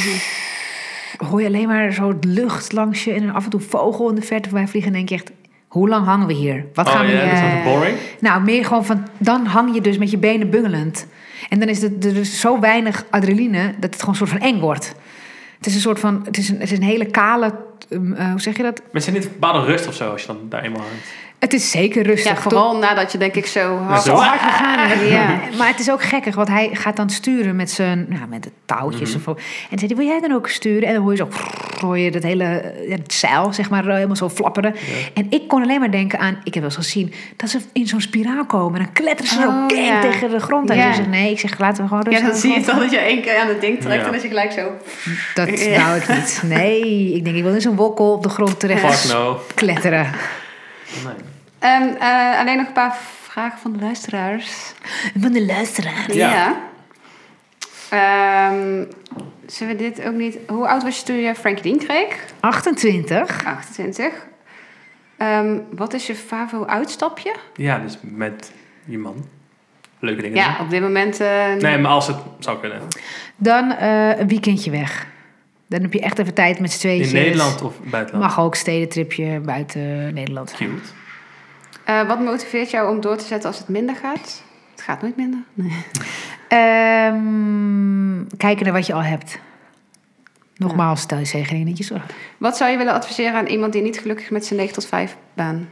hoor je alleen maar zo lucht langs je en af en toe vogel in de verte voorbij vliegen. En denk je echt, hoe lang hangen we hier? Wat gaan oh, we ja, hier? dat is altijd ja, ja. boring. Nou, meer gewoon van, dan hang je dus met je benen bungelend. En dan is het er dus zo weinig adrenaline dat het gewoon een soort van eng wordt. Het is een soort van, het is een, het is een hele kale, ehm, eh, hoe zeg je dat? Maar het is niet een bepaalde rust of zo als je dan daar eenmaal hangt. Het is zeker rustig. Ja, Dus vooral nadat je denk ik zo hard... Zo. Oh, Hard gegaan. hè? Ja. Maar het is ook gekkig, want hij gaat dan sturen met zijn, nou, met de touwtjes. of zo. En dan zei hij, wil jij dan ook sturen? En dan hoor je zo, hoor je dat hele eh, het zeil, zeg maar, eh, helemaal zo flapperen. En ik kon alleen maar denken aan, ik heb wel eens gezien, dat ze in zo'n spiraal komen. En dan kletteren ze Oh, zo keng ja. tegen de grond. En Ja. ik zeg, nee, ik zeg, laten we gewoon Ja, rustig. dan zie je gewoon- toch dat je één keer aan het ding trekt Ja. en dat je gelijk zo... Dat Ja. wou ik niet. Nee, ik denk, ik wil in zo'n wokkel op de grond terecht Fuck no. kletteren. Nee. Ehm, eh, alleen nog een paar vragen van de luisteraars. Van de luisteraar. Ja. Ja. Ehm, zullen we dit ook niet... Hoe oud was je toen je Frankie Dean kreeg? 28. 28. Ehm, wat is je favo-uitstapje? Ja, dus met je man. Leuke dingen Ja, op dit moment... eh, doen. Nee, maar als het zou kunnen. Dan eh, een weekendje weg. Dan heb je echt even tijd met z'n tweetjes. In Nederland of buitenland. Mag ook stedentripje buiten Nederland. Cute. eh, wat motiveert jou om door te zetten als het minder gaat? Het gaat nooit minder. Nee. Ehm, kijken naar wat je al hebt. Nogmaals, stel je zeker geen dat je zorgt. Wat zou je willen adviseren aan iemand die niet gelukkig is met zijn 9 tot 5 baan?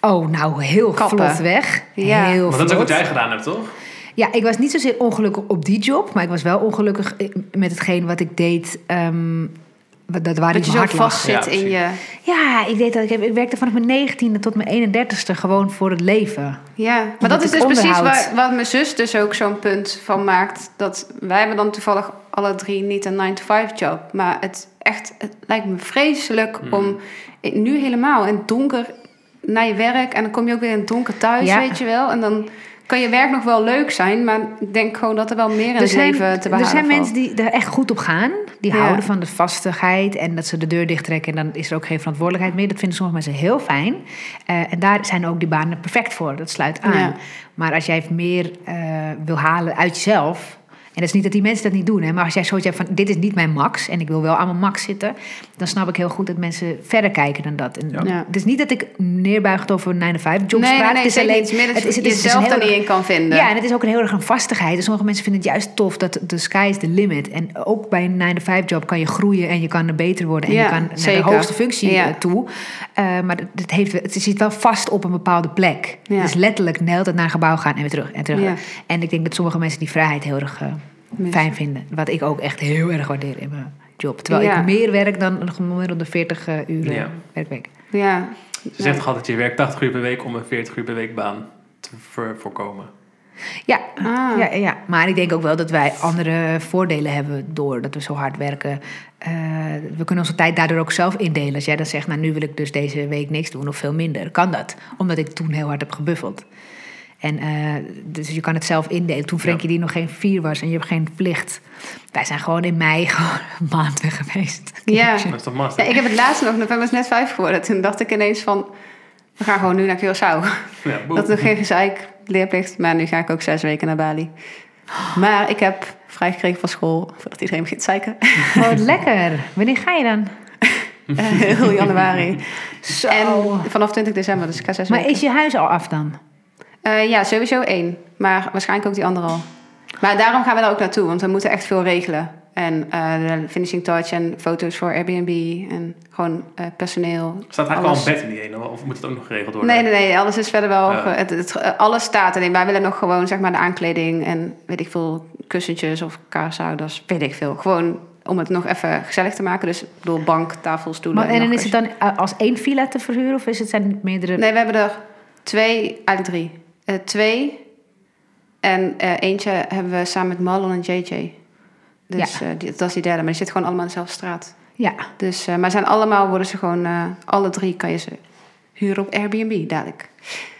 Oh, nou, heel Kappen. vlot weg. Ja. Heel Maar dat is ook vlot. wat jij gedaan hebt, toch? Ja, ik was niet zozeer ongelukkig op die job, maar ik was wel ongelukkig eh, met hetgeen wat ik deed. ehm, wat- dat waar Dat ik je mijn zo hart lag. vast zit Ja, in je... Ja, ik, deed dat, ik, heb, ik werkte vanaf mijn 19e tot mijn 31ste gewoon voor het leven. Ja, maar Omdat dat is ik dus precies onderhoud. waar, wat mijn zus dus ook zo'n punt van maakt. Dat wij hebben dan toevallig alle drie niet een 9-to-5 job. Maar het, echt, het lijkt me vreselijk om eh, nu helemaal in het donker naar je werk. En dan kom je ook weer in het donker thuis, Ja. weet je wel. En dan kan je werk nog wel leuk zijn. Maar ik denk gewoon dat er wel meer in het leven te behalen er zijn valt. mensen die er echt goed op gaan. Die Ja. houden van de vastigheid en dat ze de deur dichttrekken en dan is er ook geen verantwoordelijkheid meer. Dat vinden sommige mensen heel fijn. Eh, en daar zijn ook die banen perfect voor. Dat sluit aan. Ja. Maar als jij meer eh, wil halen uit jezelf. En dat is niet dat die mensen dat niet doen, hè, maar als jij zoiets hebt van: dit is niet mijn max en ik wil wel aan mijn max zitten, dan snap ik heel goed dat mensen verder kijken dan dat. En Ja. Ja. Het is niet dat ik neerbuigend over 9-5 jobs nee, nee, praat. nee, het is zeker alleen niet. Het is meer dat is- je is een jezelf heel er niet in kan vinden. ja, en het is ook een heel erg een vastigheid. Dus sommige mensen vinden het juist tof dat de sky is the limit. En ook bij een 9-5 job kan je groeien en je kan er beter worden. En Ja, je kan naar zeker. de hoogste functie Ja. eh, toe. Eh, maar dat- dat heeft, het zit wel vast op een bepaalde plek. Ja. Dus letterlijk de hele tijd naar een gebouw gaan en weer terug. En, terug. Ja. en ik denk dat sommige mensen die vrijheid heel erg eh, Missen. fijn vinden. Wat ik ook echt heel erg waardeer in mijn job. Terwijl Ja. ik meer werk dan een gemiddelde 40 eh, uur Ja. werkweek. Ja. Ze zegt toch altijd, je werkt 80 uur per week om een 40 uur per week baan te ver- voorkomen. Ja. Ah. Ja, ja, maar ik denk ook wel dat wij andere voordelen hebben door dat we zo hard werken. Eh, we kunnen onze tijd daardoor ook zelf indelen. Als jij dan zegt, nou nu wil ik dus deze week niks doen of veel minder, kan dat. Omdat ik toen heel hard heb gebuffeld. En eh, dus je kan het zelf indelen. Toen Frenkie die nog geen vier was en je hebt geen plicht. Wij zijn gewoon in mei [LAUGHS] gewoon een maand weg geweest. Ja. Dat is toch master? Ja, ik heb het laatst nog, november is net vijf geworden. Toen dacht ik ineens van, we gaan gewoon nu naar Curaçao. Ja, boe. Dat is nog geen gezeik, leerplicht. Maar nu ga ik ook zes weken naar Bali. Maar ik heb vrijgekregen van school, voordat iedereen begint te [LAUGHS] zeiken, Wat lekker. Wanneer ga je dan? eh, heel januari. Zo. En vanaf 20 december, dus ik ga zes maar weken. is je huis al af dan? Eh, ja, sowieso één. Maar waarschijnlijk ook die andere al. Maar daarom gaan we daar ook naartoe, want we moeten echt veel regelen. En eh, de finishing touch en foto's voor Airbnb en gewoon eh, personeel. Staat eigenlijk alles. al een bed in die ene, of moet het ook nog geregeld worden? Nee, nee, nee, alles is verder wel. Ja. ge- Het, het- eh, alles staat alleen. Wij willen nog gewoon zeg maar de aankleding en weet ik veel kussentjes of kaashouders, weet ik veel. Gewoon om het nog even gezellig te maken. Dus ik bedoel bank, tafel, stoelen. Maar, en nog dan is het dan eh, als één villa te verhuren of is het, zijn het meerdere? kussen. Nee, we hebben er twee, eigenlijk drie. Eh, twee en eh, eentje hebben we samen met Marlon en JJ. Dus eh, die- dat is die derde, maar die zitten gewoon allemaal in dezelfde straat. Ja. Dus, eh, maar zijn allemaal worden ze gewoon, eh, alle drie kan je ze huren op Airbnb dadelijk.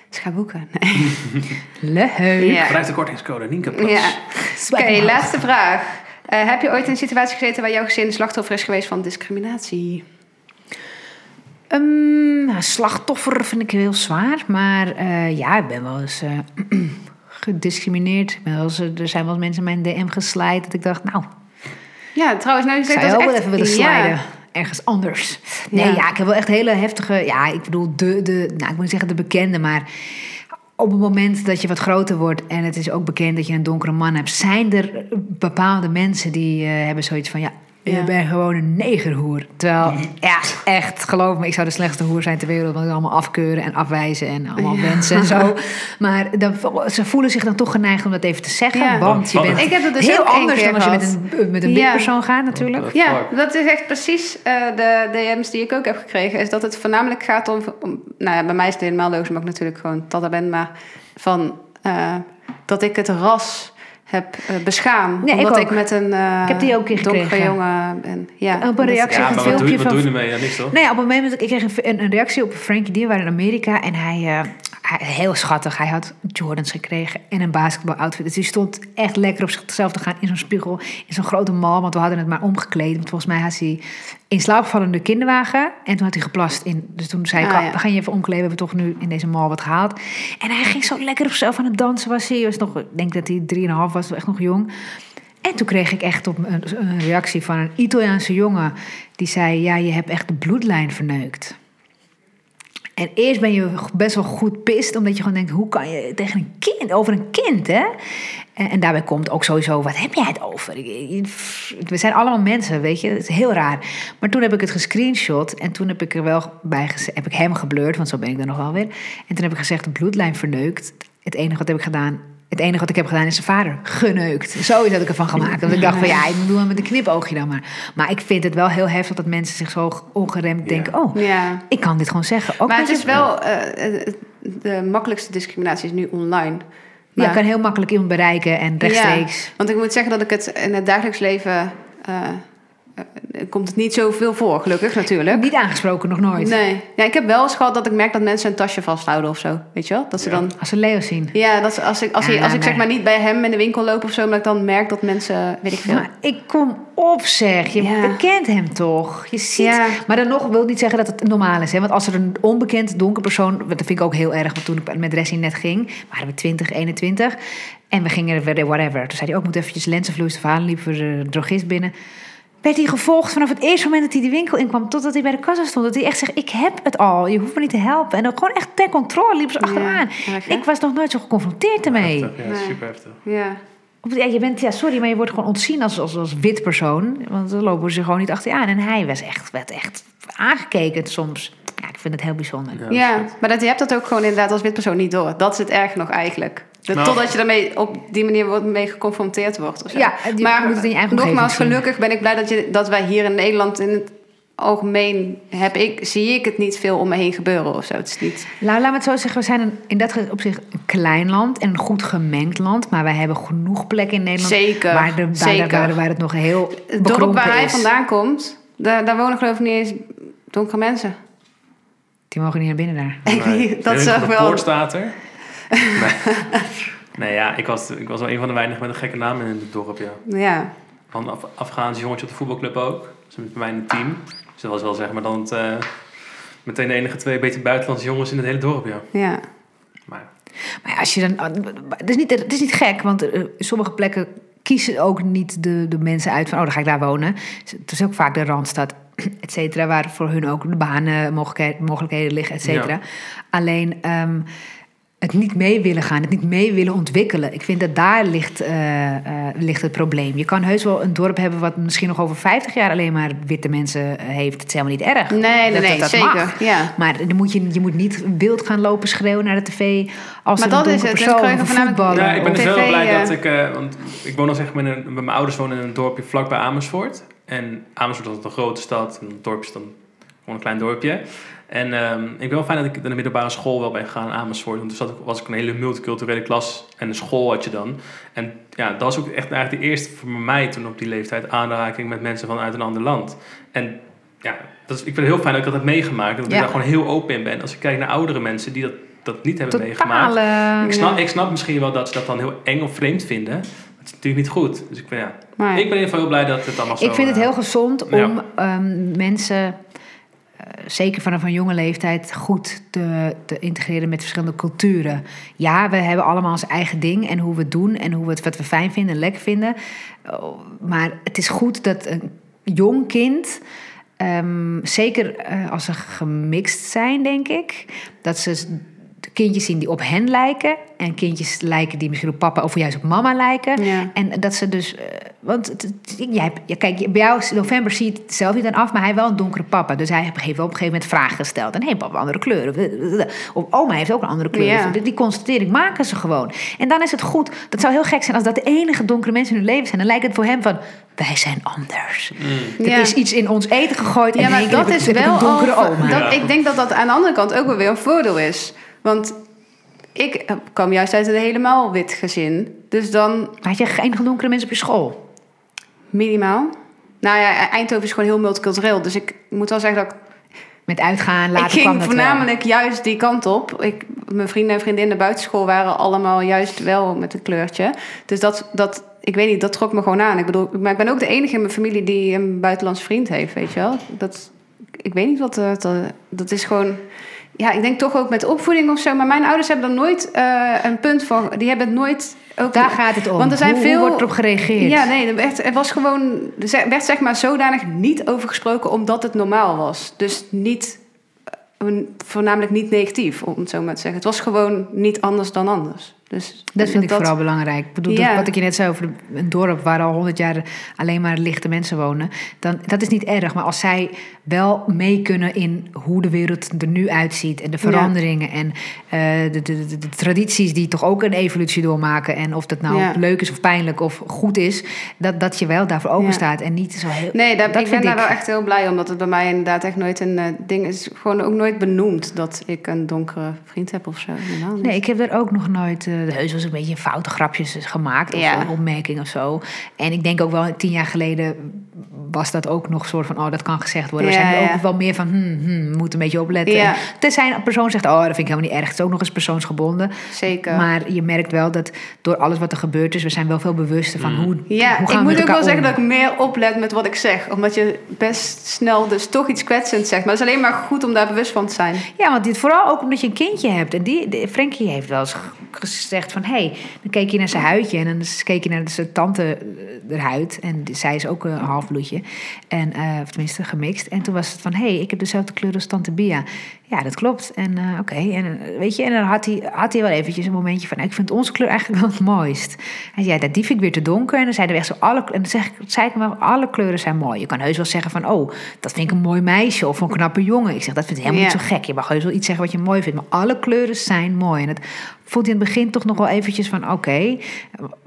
Dus ga boeken. Nee. Leuk. Ja. Gebruik de kortingscode Nienke Ja. Oké, Swipe omhoog. laatste vraag. Eh, heb je ooit in een situatie gezeten waar jouw gezin slachtoffer is geweest van discriminatie? Ehm, nou, slachtoffer vind ik heel zwaar. Maar eh, ja, ik ben wel eens eh, [CLEARS THROAT] gediscrimineerd. Ik ben wel eens, eh, er zijn wel eens mensen in mijn DM geslijd. Dat ik dacht, nou, Ja, trouwens, nou je ik zegt zou je dat ook is wel echt- even willen ja. sliden. Ergens anders. Nee, Ja. ja. ik heb wel echt hele heftige... Ja, ik bedoel, de, de, nou, ik moet niet zeggen de bekende, maar... Op het moment dat je wat groter wordt en het is ook bekend dat je een donkere man hebt, zijn er eh, bepaalde mensen die eh, hebben zoiets van ja, Ja. je bent gewoon een negerhoer. Terwijl, ja, echt, geloof me, ik zou de slechtste hoer zijn ter wereld. Want ik allemaal afkeuren en afwijzen en allemaal wensen en [LAUGHS] zo. Maar dan, ze voelen zich dan toch geneigd om dat even te zeggen. Ja. Want je Oh, bent Ik heb dat dus heel ook één anders keer dan als je met gehad. een, met een Ja. wit persoon gaat natuurlijk. Ja, dat is echt precies eh, de DM's die ik ook heb gekregen. Is dat het voornamelijk gaat om... om- nou ja, bij mij is het helemaal logisch, omdat ik natuurlijk gewoon tata ben. Maar van eh, dat ik het ras heb eh, beschaam. Nee, ik omdat ik, ook. met een eh, Ik heb die ook een keer donkere gekregen. Oh, jongen ben. Ja, Op een dat- reactie. Ja, een maar wat doe, je- filmpje wat van- doe je ermee? Ja, niks toch? Nou ja, op een moment, ik kreeg een, een reactie op Frankie Dier, waren in Amerika. En hij, eh, hij, heel schattig, hij had Jordans gekregen en een basketbaloutfit. Dus hij stond echt lekker op zichzelf te gaan in zo'n spiegel, in zo'n grote mal. Want we hadden het maar omgekleed. Want volgens mij had hij in slaap gevallen in de kinderwagen. En toen had hij geplast in. Dus toen zei ik, Ah, ja. we gaan je even omkleden. We hebben toch nu in deze mal wat gehaald. En hij ging zo lekker op zichzelf aan het dansen. Was hij, was nog, ik denk dat hij 3,5 was, echt nog jong. En toen kreeg ik echt op een, een reactie van een Italiaanse jongen. Die zei, ja, je hebt echt de bloedlijn verneukt. En eerst ben je best wel goed pist, omdat je gewoon denkt: hoe kan je tegen een kind, over een kind, hè? En, en daarbij komt ook sowieso: wat heb jij het over? Ik- ik- pff, We zijn allemaal mensen, weet je? Het is heel raar. Maar toen heb ik het gescreenshot en toen heb ik er wel bij geze- heb ik hem gebleurd, want zo ben ik dan nog wel weer. En toen heb ik gezegd: de bloedlijn verneukt. Het enige wat heb ik gedaan. Het enige wat ik heb gedaan is zijn vader geneukt. Zo is dat ik ervan gemaakt. Want ik dacht van ja, ik doe hem met een knipoogje dan maar. Maar ik vind het wel heel heftig dat mensen zich zo ongeremd denken... oh, Ja. ik kan dit gewoon zeggen. Ook maar met het je is wel eh, eh, de makkelijkste discriminatie is nu online. Maar Ja. je kan heel makkelijk iemand bereiken en rechtstreeks. Ja, want ik moet zeggen dat ik het in het dagelijks leven... eh, eh, komt het niet zoveel voor, gelukkig natuurlijk. Niet aangesproken, nog nooit. Nee. Ja, ik heb wel eens gehad dat ik merk dat mensen een tasje vasthouden of zo. Weet je wel? Dat ze Ja. dan... Als ze Leo zien. Ja, dat ze- als ik, als, hij, Ja, als ik zeg maar- maar niet bij hem in de winkel loop of zo... maar ik dan merk dat mensen, weet ik veel... Maar ik kom op zeg, je Ja. bekent hem toch? Je ziet. Ja. Maar dan nog wil niet zeggen dat het normaal is. Hè? Want als er een onbekend donker persoon... want Dat vind ik ook heel erg, want toen ik met Dressing net ging... waren we 20, 21 en we gingen weer whatever. Toen zei hij ook, moet eventjes lenzenvloeistof halen. Liepen we de drogist binnen. Werd hij gevolgd vanaf het eerste moment dat hij de winkel inkwam... totdat hij bij de kassa stond. Dat hij echt zegt, ik heb het al. Je hoeft me niet te helpen. En dan gewoon echt ter controle liepen ze Ja, eh, achteraan. erg, hè? Ik was nog nooit zo geconfronteerd ermee. Heftig, ja, Nee. super heftig. Ja. Of, Ja, je bent, ja, sorry, maar je wordt gewoon ontzien als, als, als wit persoon. Want dan lopen ze gewoon niet achter je aan. En hij was echt, werd echt aangekeken soms. Ja, ik vind het heel bijzonder. Ja, Ja, maar dat, je hebt dat ook gewoon inderdaad als wit persoon niet door. Dat is het erg nog eigenlijk. Dat- Nou. totdat je daarmee op die manier wordt, mee geconfronteerd wordt. Of zo. Ja, en die- je moet het in je eigen omgeving nogmaals, zien. gelukkig ben ik blij dat, je, dat wij hier in Nederland in het algemeen heb ik, zie ik het niet veel om me heen gebeuren of zo. Het is niet. Nou, laat me het zo zeggen. We zijn een, in dat opzicht een klein land en een goed gemengd land. Maar wij hebben genoeg plekken in Nederland. Zeker, Waar, de, waar, zeker. Waar, waar het nog heel Het dorp waar bekrompen hij is. vandaan komt, daar, daar wonen geloof ik niet eens donkere mensen. Die mogen niet naar binnen daar. Ik weet- dat Nee, is van ook de wel. poort [LAUGHS] staat er. nee. nee, ja, ik was, ik was wel een van de weinigen met een gekke naam in het dorp, ja. Ja, Van een Af Afghaans jongetje op de voetbalclub ook. Ze met mij in het team. Dus dat was wel zeg maar dan het, eh, meteen de enige twee beetje buitenlandse jongens in het hele dorp, ja. ja. Maar Maar ja, als je dan. ah, Het is niet, het is niet gek, want eh, sommige plekken kiezen ook niet de, de mensen uit van. Oh, dan ga ik daar wonen. Het is ook vaak de randstad, [CLEARS THROAT] et cetera, waar voor hun ook de banen, mogelijkhe- mogelijkheden liggen, et cetera. Ja. Alleen. ehm, het niet mee willen gaan, het niet mee willen ontwikkelen. Ik vind dat daar ligt, eh, eh, ligt het probleem. Je kan heus wel een dorp hebben wat misschien nog over 50 jaar alleen maar witte mensen heeft. Het is helemaal niet erg. Nee, nee, Dat- nee, dat- dat zeker. mag. Ja. Maar dan moet je, je moet niet wild gaan lopen schreeuwen naar de tv als Maar er een dat is donkere het. persoon Het krijgen of een voornamelijk- voetballer Ja, ik ben op of- dus heel tv, blij eh. dat ik... eh, want ik woon al zeg maar in een- mijn ouders wonen in een dorpje vlakbij Amersfoort. En Amersfoort is altijd een grote stad. En het dorpje is dan gewoon een klein dorpje. En ehm, ik ben wel fijn dat ik naar de middelbare school wel ben gegaan in Amersfoort. Want toen zat ik, was ik een hele multiculturele klas. En een school had je dan. En ja, dat was ook echt eigenlijk de eerste voor mij toen op die leeftijd aanraking met mensen vanuit een ander land. En ja, dat is, ik vind het heel fijn dat ik dat heb meegemaakt. en Dat Ja. ik daar gewoon heel open in ben. Als ik kijk naar oudere mensen die dat, dat niet hebben meegemaakt. Totale... Ik snap, ik snap misschien wel dat ze dat dan heel eng of vreemd vinden. Dat is natuurlijk niet goed. Dus ik ben, ja. Maar, ik ben in ieder geval heel blij dat het allemaal zo... Ik vind het eh, heel gezond om ja. ehm, mensen, eh, zeker vanaf een jonge leeftijd, goed te, te integreren met verschillende culturen. Ja, we hebben allemaal ons eigen ding en hoe we het doen en hoe we het, wat we fijn vinden en lekker vinden. Oh, Maar het is goed dat een jong kind. ehm, zeker eh, als ze gemixt zijn, denk ik. Dat ze s- kindjes zien die op hen lijken. En kindjes lijken die misschien op papa of juist op mama lijken. ja. En dat ze dus. eh, want het- het- jij, hebt- ja, kijk, bij jou, is november ziet het zelf niet aan af, maar hij heeft wel een donkere papa. Dus hij heeft wel op een gegeven moment vragen gesteld. En hé, papa, andere kleuren. Of oma heeft ook een andere kleur. Ja. Dus Die constatering maken ze gewoon. En dan is het goed. Dat zou heel gek zijn als dat de enige donkere mensen in hun leven zijn. Dan lijkt het voor hem van. Wij zijn anders. Er Ja. is iets in ons eten gegooid. Ja, en maar in één keer dat heb is ik- heb ik wel een donkere al- oma. dat- Ja. Ik denk dat dat aan de andere kant ook wel weer een voordeel is. Want ik eh, kwam juist uit een helemaal wit gezin. Dus dan Had je geen donkere mensen op je school? minimaal. Nou ja, Eindhoven is gewoon heel multicultureel. Dus ik moet wel zeggen dat ik... Met uitgaan, later ik kwam ging dat voornamelijk juist die kant op. Ik, mijn vrienden en vriendinnen buitenschool waren allemaal juist wel met een kleurtje. Dus dat, dat, ik weet niet, dat trok me gewoon aan. Ik bedoel, maar ik ben ook de enige in mijn familie die een buitenlands vriend heeft, weet je wel. Dat, ik weet niet wat eh, dat, dat is gewoon. Ja, ik denk toch ook met opvoeding of zo. Maar mijn ouders hebben er nooit eh, een punt van. Die hebben het nooit. Ook wel. Daar gaat het om. Want er zijn hoe, hoe veel- wordt erop gereageerd? ja, nee, er werd, er was gewoon, er ze- werd zeg maar zodanig niet over gesproken omdat het normaal was. Dus niet, eh, een- voornamelijk niet negatief, om het zo maar te zeggen. Het was gewoon niet anders dan anders. Dus Dat vind ik vooral belangrijk. Ik bedoel, dat- Ja. wat ik je net zei over de- een dorp waar al honderd jaar alleen maar lichte mensen wonen. Dan, dat is niet erg. Maar als zij wel mee kunnen in hoe de wereld er nu uitziet. En de veranderingen en eh, de, de, de, de tradities die toch ook een evolutie doormaken. En of dat nou Ja. leuk is of pijnlijk of goed is. Dat, dat je wel daarvoor open Ja. staat. En niet zo heel... Nee, daar, dat ik ben vind daar ik- wel echt heel blij om. Omdat het bij mij inderdaad echt nooit een eh, ding is. Gewoon ook nooit benoemd dat ik een donkere vriend heb of zo. Helemaal niet. Nee, ik heb daar ook nog nooit eh, heus was een beetje een foute grapjes dus gemaakt of Ja. een opmerking of zo. En ik denk ook wel, tien jaar geleden was dat ook nog soort van, oh, dat kan gezegd worden. Ja, we zijn nu ja. ook wel meer van, hmm, hmm, moet een beetje opletten. Ja. En Tenzij een persoon zegt, oh, dat vind ik helemaal niet erg. Het is ook nog eens persoonsgebonden. Zeker. Maar je merkt wel dat door alles wat er gebeurd is, we zijn wel veel bewuster van hoe, Mm. Ja, hoe gaan ik we met moet ook elkaar wel om. zeggen dat ik meer oplet met wat ik zeg. Omdat je best snel dus toch iets kwetsends zegt. Maar het is alleen maar goed om daar bewust van te zijn. Ja, want dit, vooral ook omdat je een kindje hebt. En die, de- Frankie heeft wel eens g- gezegd van... hé, hey, dan keek je naar zijn huidje... en dan s- keek je naar zijn tante eh, haar huid. En die- zij is ook een halfbloedje. En, eh, of tenminste, gemixt. En toen was het van... hé, hey, ik heb dezelfde kleur als tante Bia. Ja, dat klopt. En eh, oké, en, eh, weet je... en dan had hij, had hij wel eventjes een momentje van... ik vind onze kleur eigenlijk wel het mooist. Hij zei, ja, dat die vind ik weer te donker. En dan zei hij echt zo... Alle, en dan zeg, ik- zei ik hem wel, alle kleuren zijn mooi. Je kan heus wel zeggen van... oh, dat vind ik een mooi meisje of een knappe jongen. Ik zeg, dat vind ik helemaal Ja. niet zo gek. Je mag heus wel iets zeggen wat je mooi vindt. Maar alle kleuren zijn mooi. En dat vond hij in het begin toch nog wel eventjes van... oké,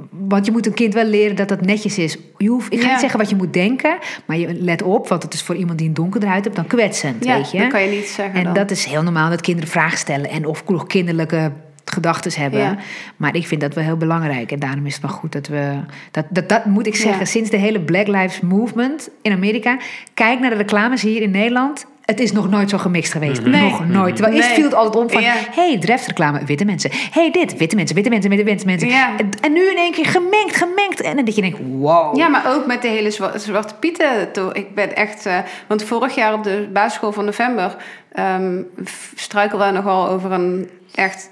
want je moet een kind wel leren dat dat netjes is. Je hoeft, ik ga Ja. niet zeggen wat je moet denken... maar je let op, want het is voor iemand die een donkere huid hebt... dan kwetsend, Ja, weet je. dat kan je niet zeggen en dan. dat is heel normaal dat kinderen vragen stellen... en of nog kinderlijke gedachten hebben. Ja. Maar ik vind dat wel heel belangrijk. En daarom is het maar goed dat we... Dat, dat, dat moet ik zeggen, Ja. sinds de hele Black Lives Movement in Amerika... kijk naar de reclames hier in Nederland... Het is nog nooit zo gemixt geweest. Nee. Nog nooit. Terwijl eerst Nee. viel het altijd om van... Ja. hey, reclame, witte mensen. hey, dit, witte mensen, witte mensen, witte mensen. mensen. Ja. En, en nu in één keer gemengd, gemengd. En dan dat je denkt, wow. Ja, maar ook met de hele zwa- Zwarte Pieten. to- Ik ben echt... eh, want vorig jaar op de basisschool van november... ehm f- struikelden we nogal over een echt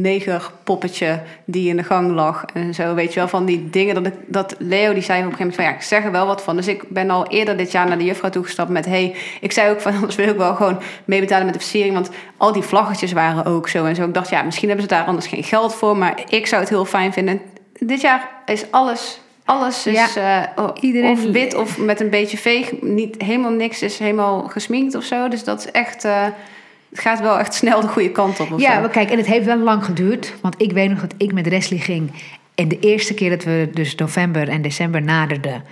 neger poppetje die in de gang lag. En zo weet je wel, van die dingen. Dat, ik, dat Leo die zei op een gegeven moment van... Ja, ik zeg er wel wat van. Dus ik ben al eerder dit jaar naar de juffrouw toegestapt met... Hey, ik zei ook van, [LAUGHS] anders wil ik wel gewoon meebetalen met de versiering. Want al die vlaggetjes waren ook zo en zo. Ik dacht, ja, misschien hebben ze daar anders geen geld voor. Maar ik zou het heel fijn vinden. Dit jaar is alles... Alles is Ja. eh, oh, Iedereen of die- wit of met een beetje veeg. Niet, helemaal niks is helemaal gesminkt of zo. Dus dat is echt... eh, het gaat wel echt snel de goede kant op. Of Ja, zo. maar kijk, en het heeft wel lang geduurd. Want ik weet nog dat ik met Wesley ging. En de eerste keer dat we dus november en december naderden.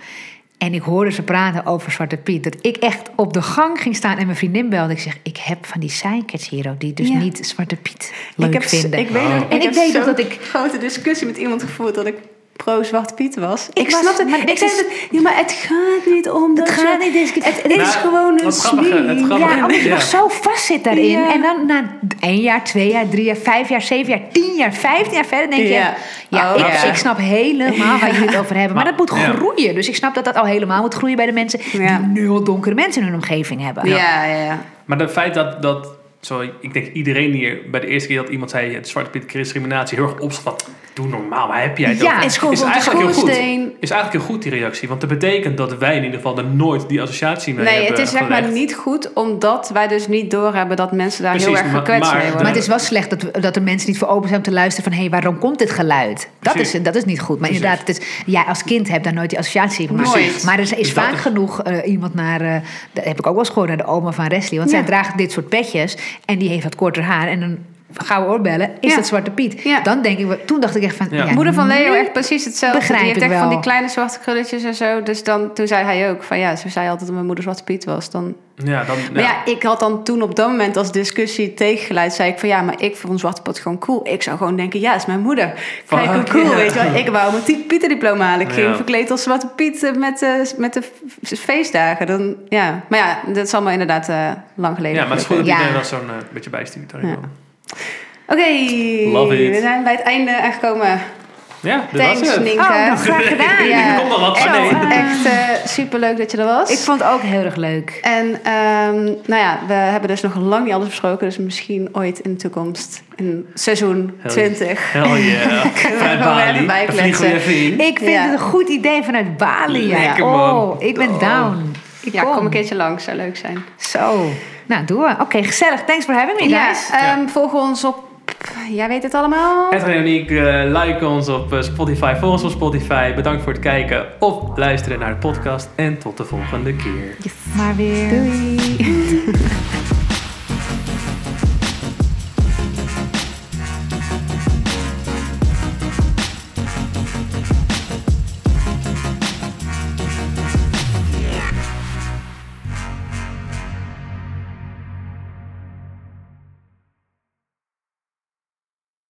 En ik hoorde ze praten over Zwarte Piet. Dat ik echt op de gang ging staan en mijn vriendin belde. Ik zeg, ik heb van die sidekicks hier ook. Die dus Ja. niet Zwarte Piet leuk ik heb, s- vinden. Ik weet nog- En ik heb weet nog zo'n dat ik- grote discussie met iemand gevoerd dat ik pro Zwart Piet was. Ik, was- snap het. maar Maar ik dit zei is- dat, ja, maar het gaat niet om dat. Het gaat je- niet, deze keer- Het, het Nou, is gewoon een wat grappige- het smie. grappige- Ja, omdat je Ja. nog zo vast zit daarin. Ja. En dan na één jaar, twee jaar, drie jaar, vijf jaar, zeven jaar, tien jaar, vijftien jaar verder denk je... Ja. Ja, Oh, ik, ja. ik snap helemaal waar jullie het over hebben. Maar, Maar- dat moet ja. groeien. Dus ik snap dat dat al helemaal moet groeien bij de mensen... Ja. die nul donkere mensen in hun omgeving hebben. Ja, ja, ja. Maar het feit dat, dat zo, ik denk iedereen hier bij de eerste keer dat iemand zei het zwarte piet discriminatie heel erg opschat. Doe normaal, waar heb jij het Ja, over? het is gewoon van de schoorsteen. Is eigenlijk heel goed die reactie, want dat betekent dat wij in ieder geval er nooit die associatie mee Nee, hebben het is zeg maar gelegd. niet goed omdat wij dus niet doorhebben dat mensen daar heel Precies, erg maar- gekwetst maar- mee worden. Maar het is wel slecht dat, we- dat de mensen niet voor open zijn om te luisteren van... hé, hey, waarom komt dit geluid? Dat Precies. is, dat is niet goed. Maar Precies. inderdaad, het is, ja, als kind heb je daar nooit die associatie van. gemaakt. Nooit. Maar er is, Dus dat vaak is- genoeg eh, iemand naar... eh, dat heb ik ook wel eens gehoord, naar de oma van Wesley. Want zij Ja. draagt dit soort petjes en die heeft wat korter haar... en een gouden oorbellen, is Ja. dat Zwarte Piet. Ja. Dan denk ik, wel- toen dacht ik echt van... Ja. Ja. Moeder van Leo nu- echt precies hetzelfde. begrijp die heeft ik echt van wel. die kleine zwarte krulletjes en zo. Dus dan, toen zei hij ook van ja, ze zei altijd dat mijn moeder Zwarte Piet was. Dan Ja, dan, Maar ja. ja, ik had dan toen op dat moment als discussie tegengeluid... zei ik van ja, maar ik vond Zwarte Pot gewoon cool. Ik zou gewoon denken, ja, het is mijn moeder. Van, Kijk hoe Oh, oké. cool, weet je wel. Ik wou mijn Piet- Pieter-diploma halen. Ik ging Ja. verkleed als Zwarte Piet eh, met, eh, met de f- feestdagen. Dan, ja. Maar ja, dat is allemaal inderdaad eh, lang geleden. Ja, maar het is goed dat Ja. iedereen dat zo'n eh, beetje bijstuurt. daarin Ja. wel. Oké, Love it. we zijn bij het einde aangekomen. Ja, dat was Thanks, het. Nienke. Oh, nou, graag gedaan. [LAUGHS] Ja. [LAUGHS] Er komt nog wat, Echt, maar Ah, nee. echt eh, superleuk dat je er was. Ik vond het ook heel erg leuk. En ehm, nou ja, we hebben dus nog lang niet alles besproken. Dus misschien ooit in de toekomst, in seizoen Hell 20. Hell [LAUGHS] yeah. Vanuit gewoon even Bali. bij Daar vliegen we kletsen. even in. Ik vind Ja. het een goed idee vanuit Bali. ja. Lekker, man. oh, ik ben Oh. down. Ik Ja, kom een keertje langs, zou leuk zijn. Zo. Nou, doen we. Oké, gezellig. Thanks for having me, Ja, guys. ehm, volg ons op, jij weet het allemaal. Het Uniek, like ons op eh, Spotify, volg ons op Spotify. Bedankt voor het kijken of luisteren naar de podcast. En tot de volgende keer. Maar weer. Doei.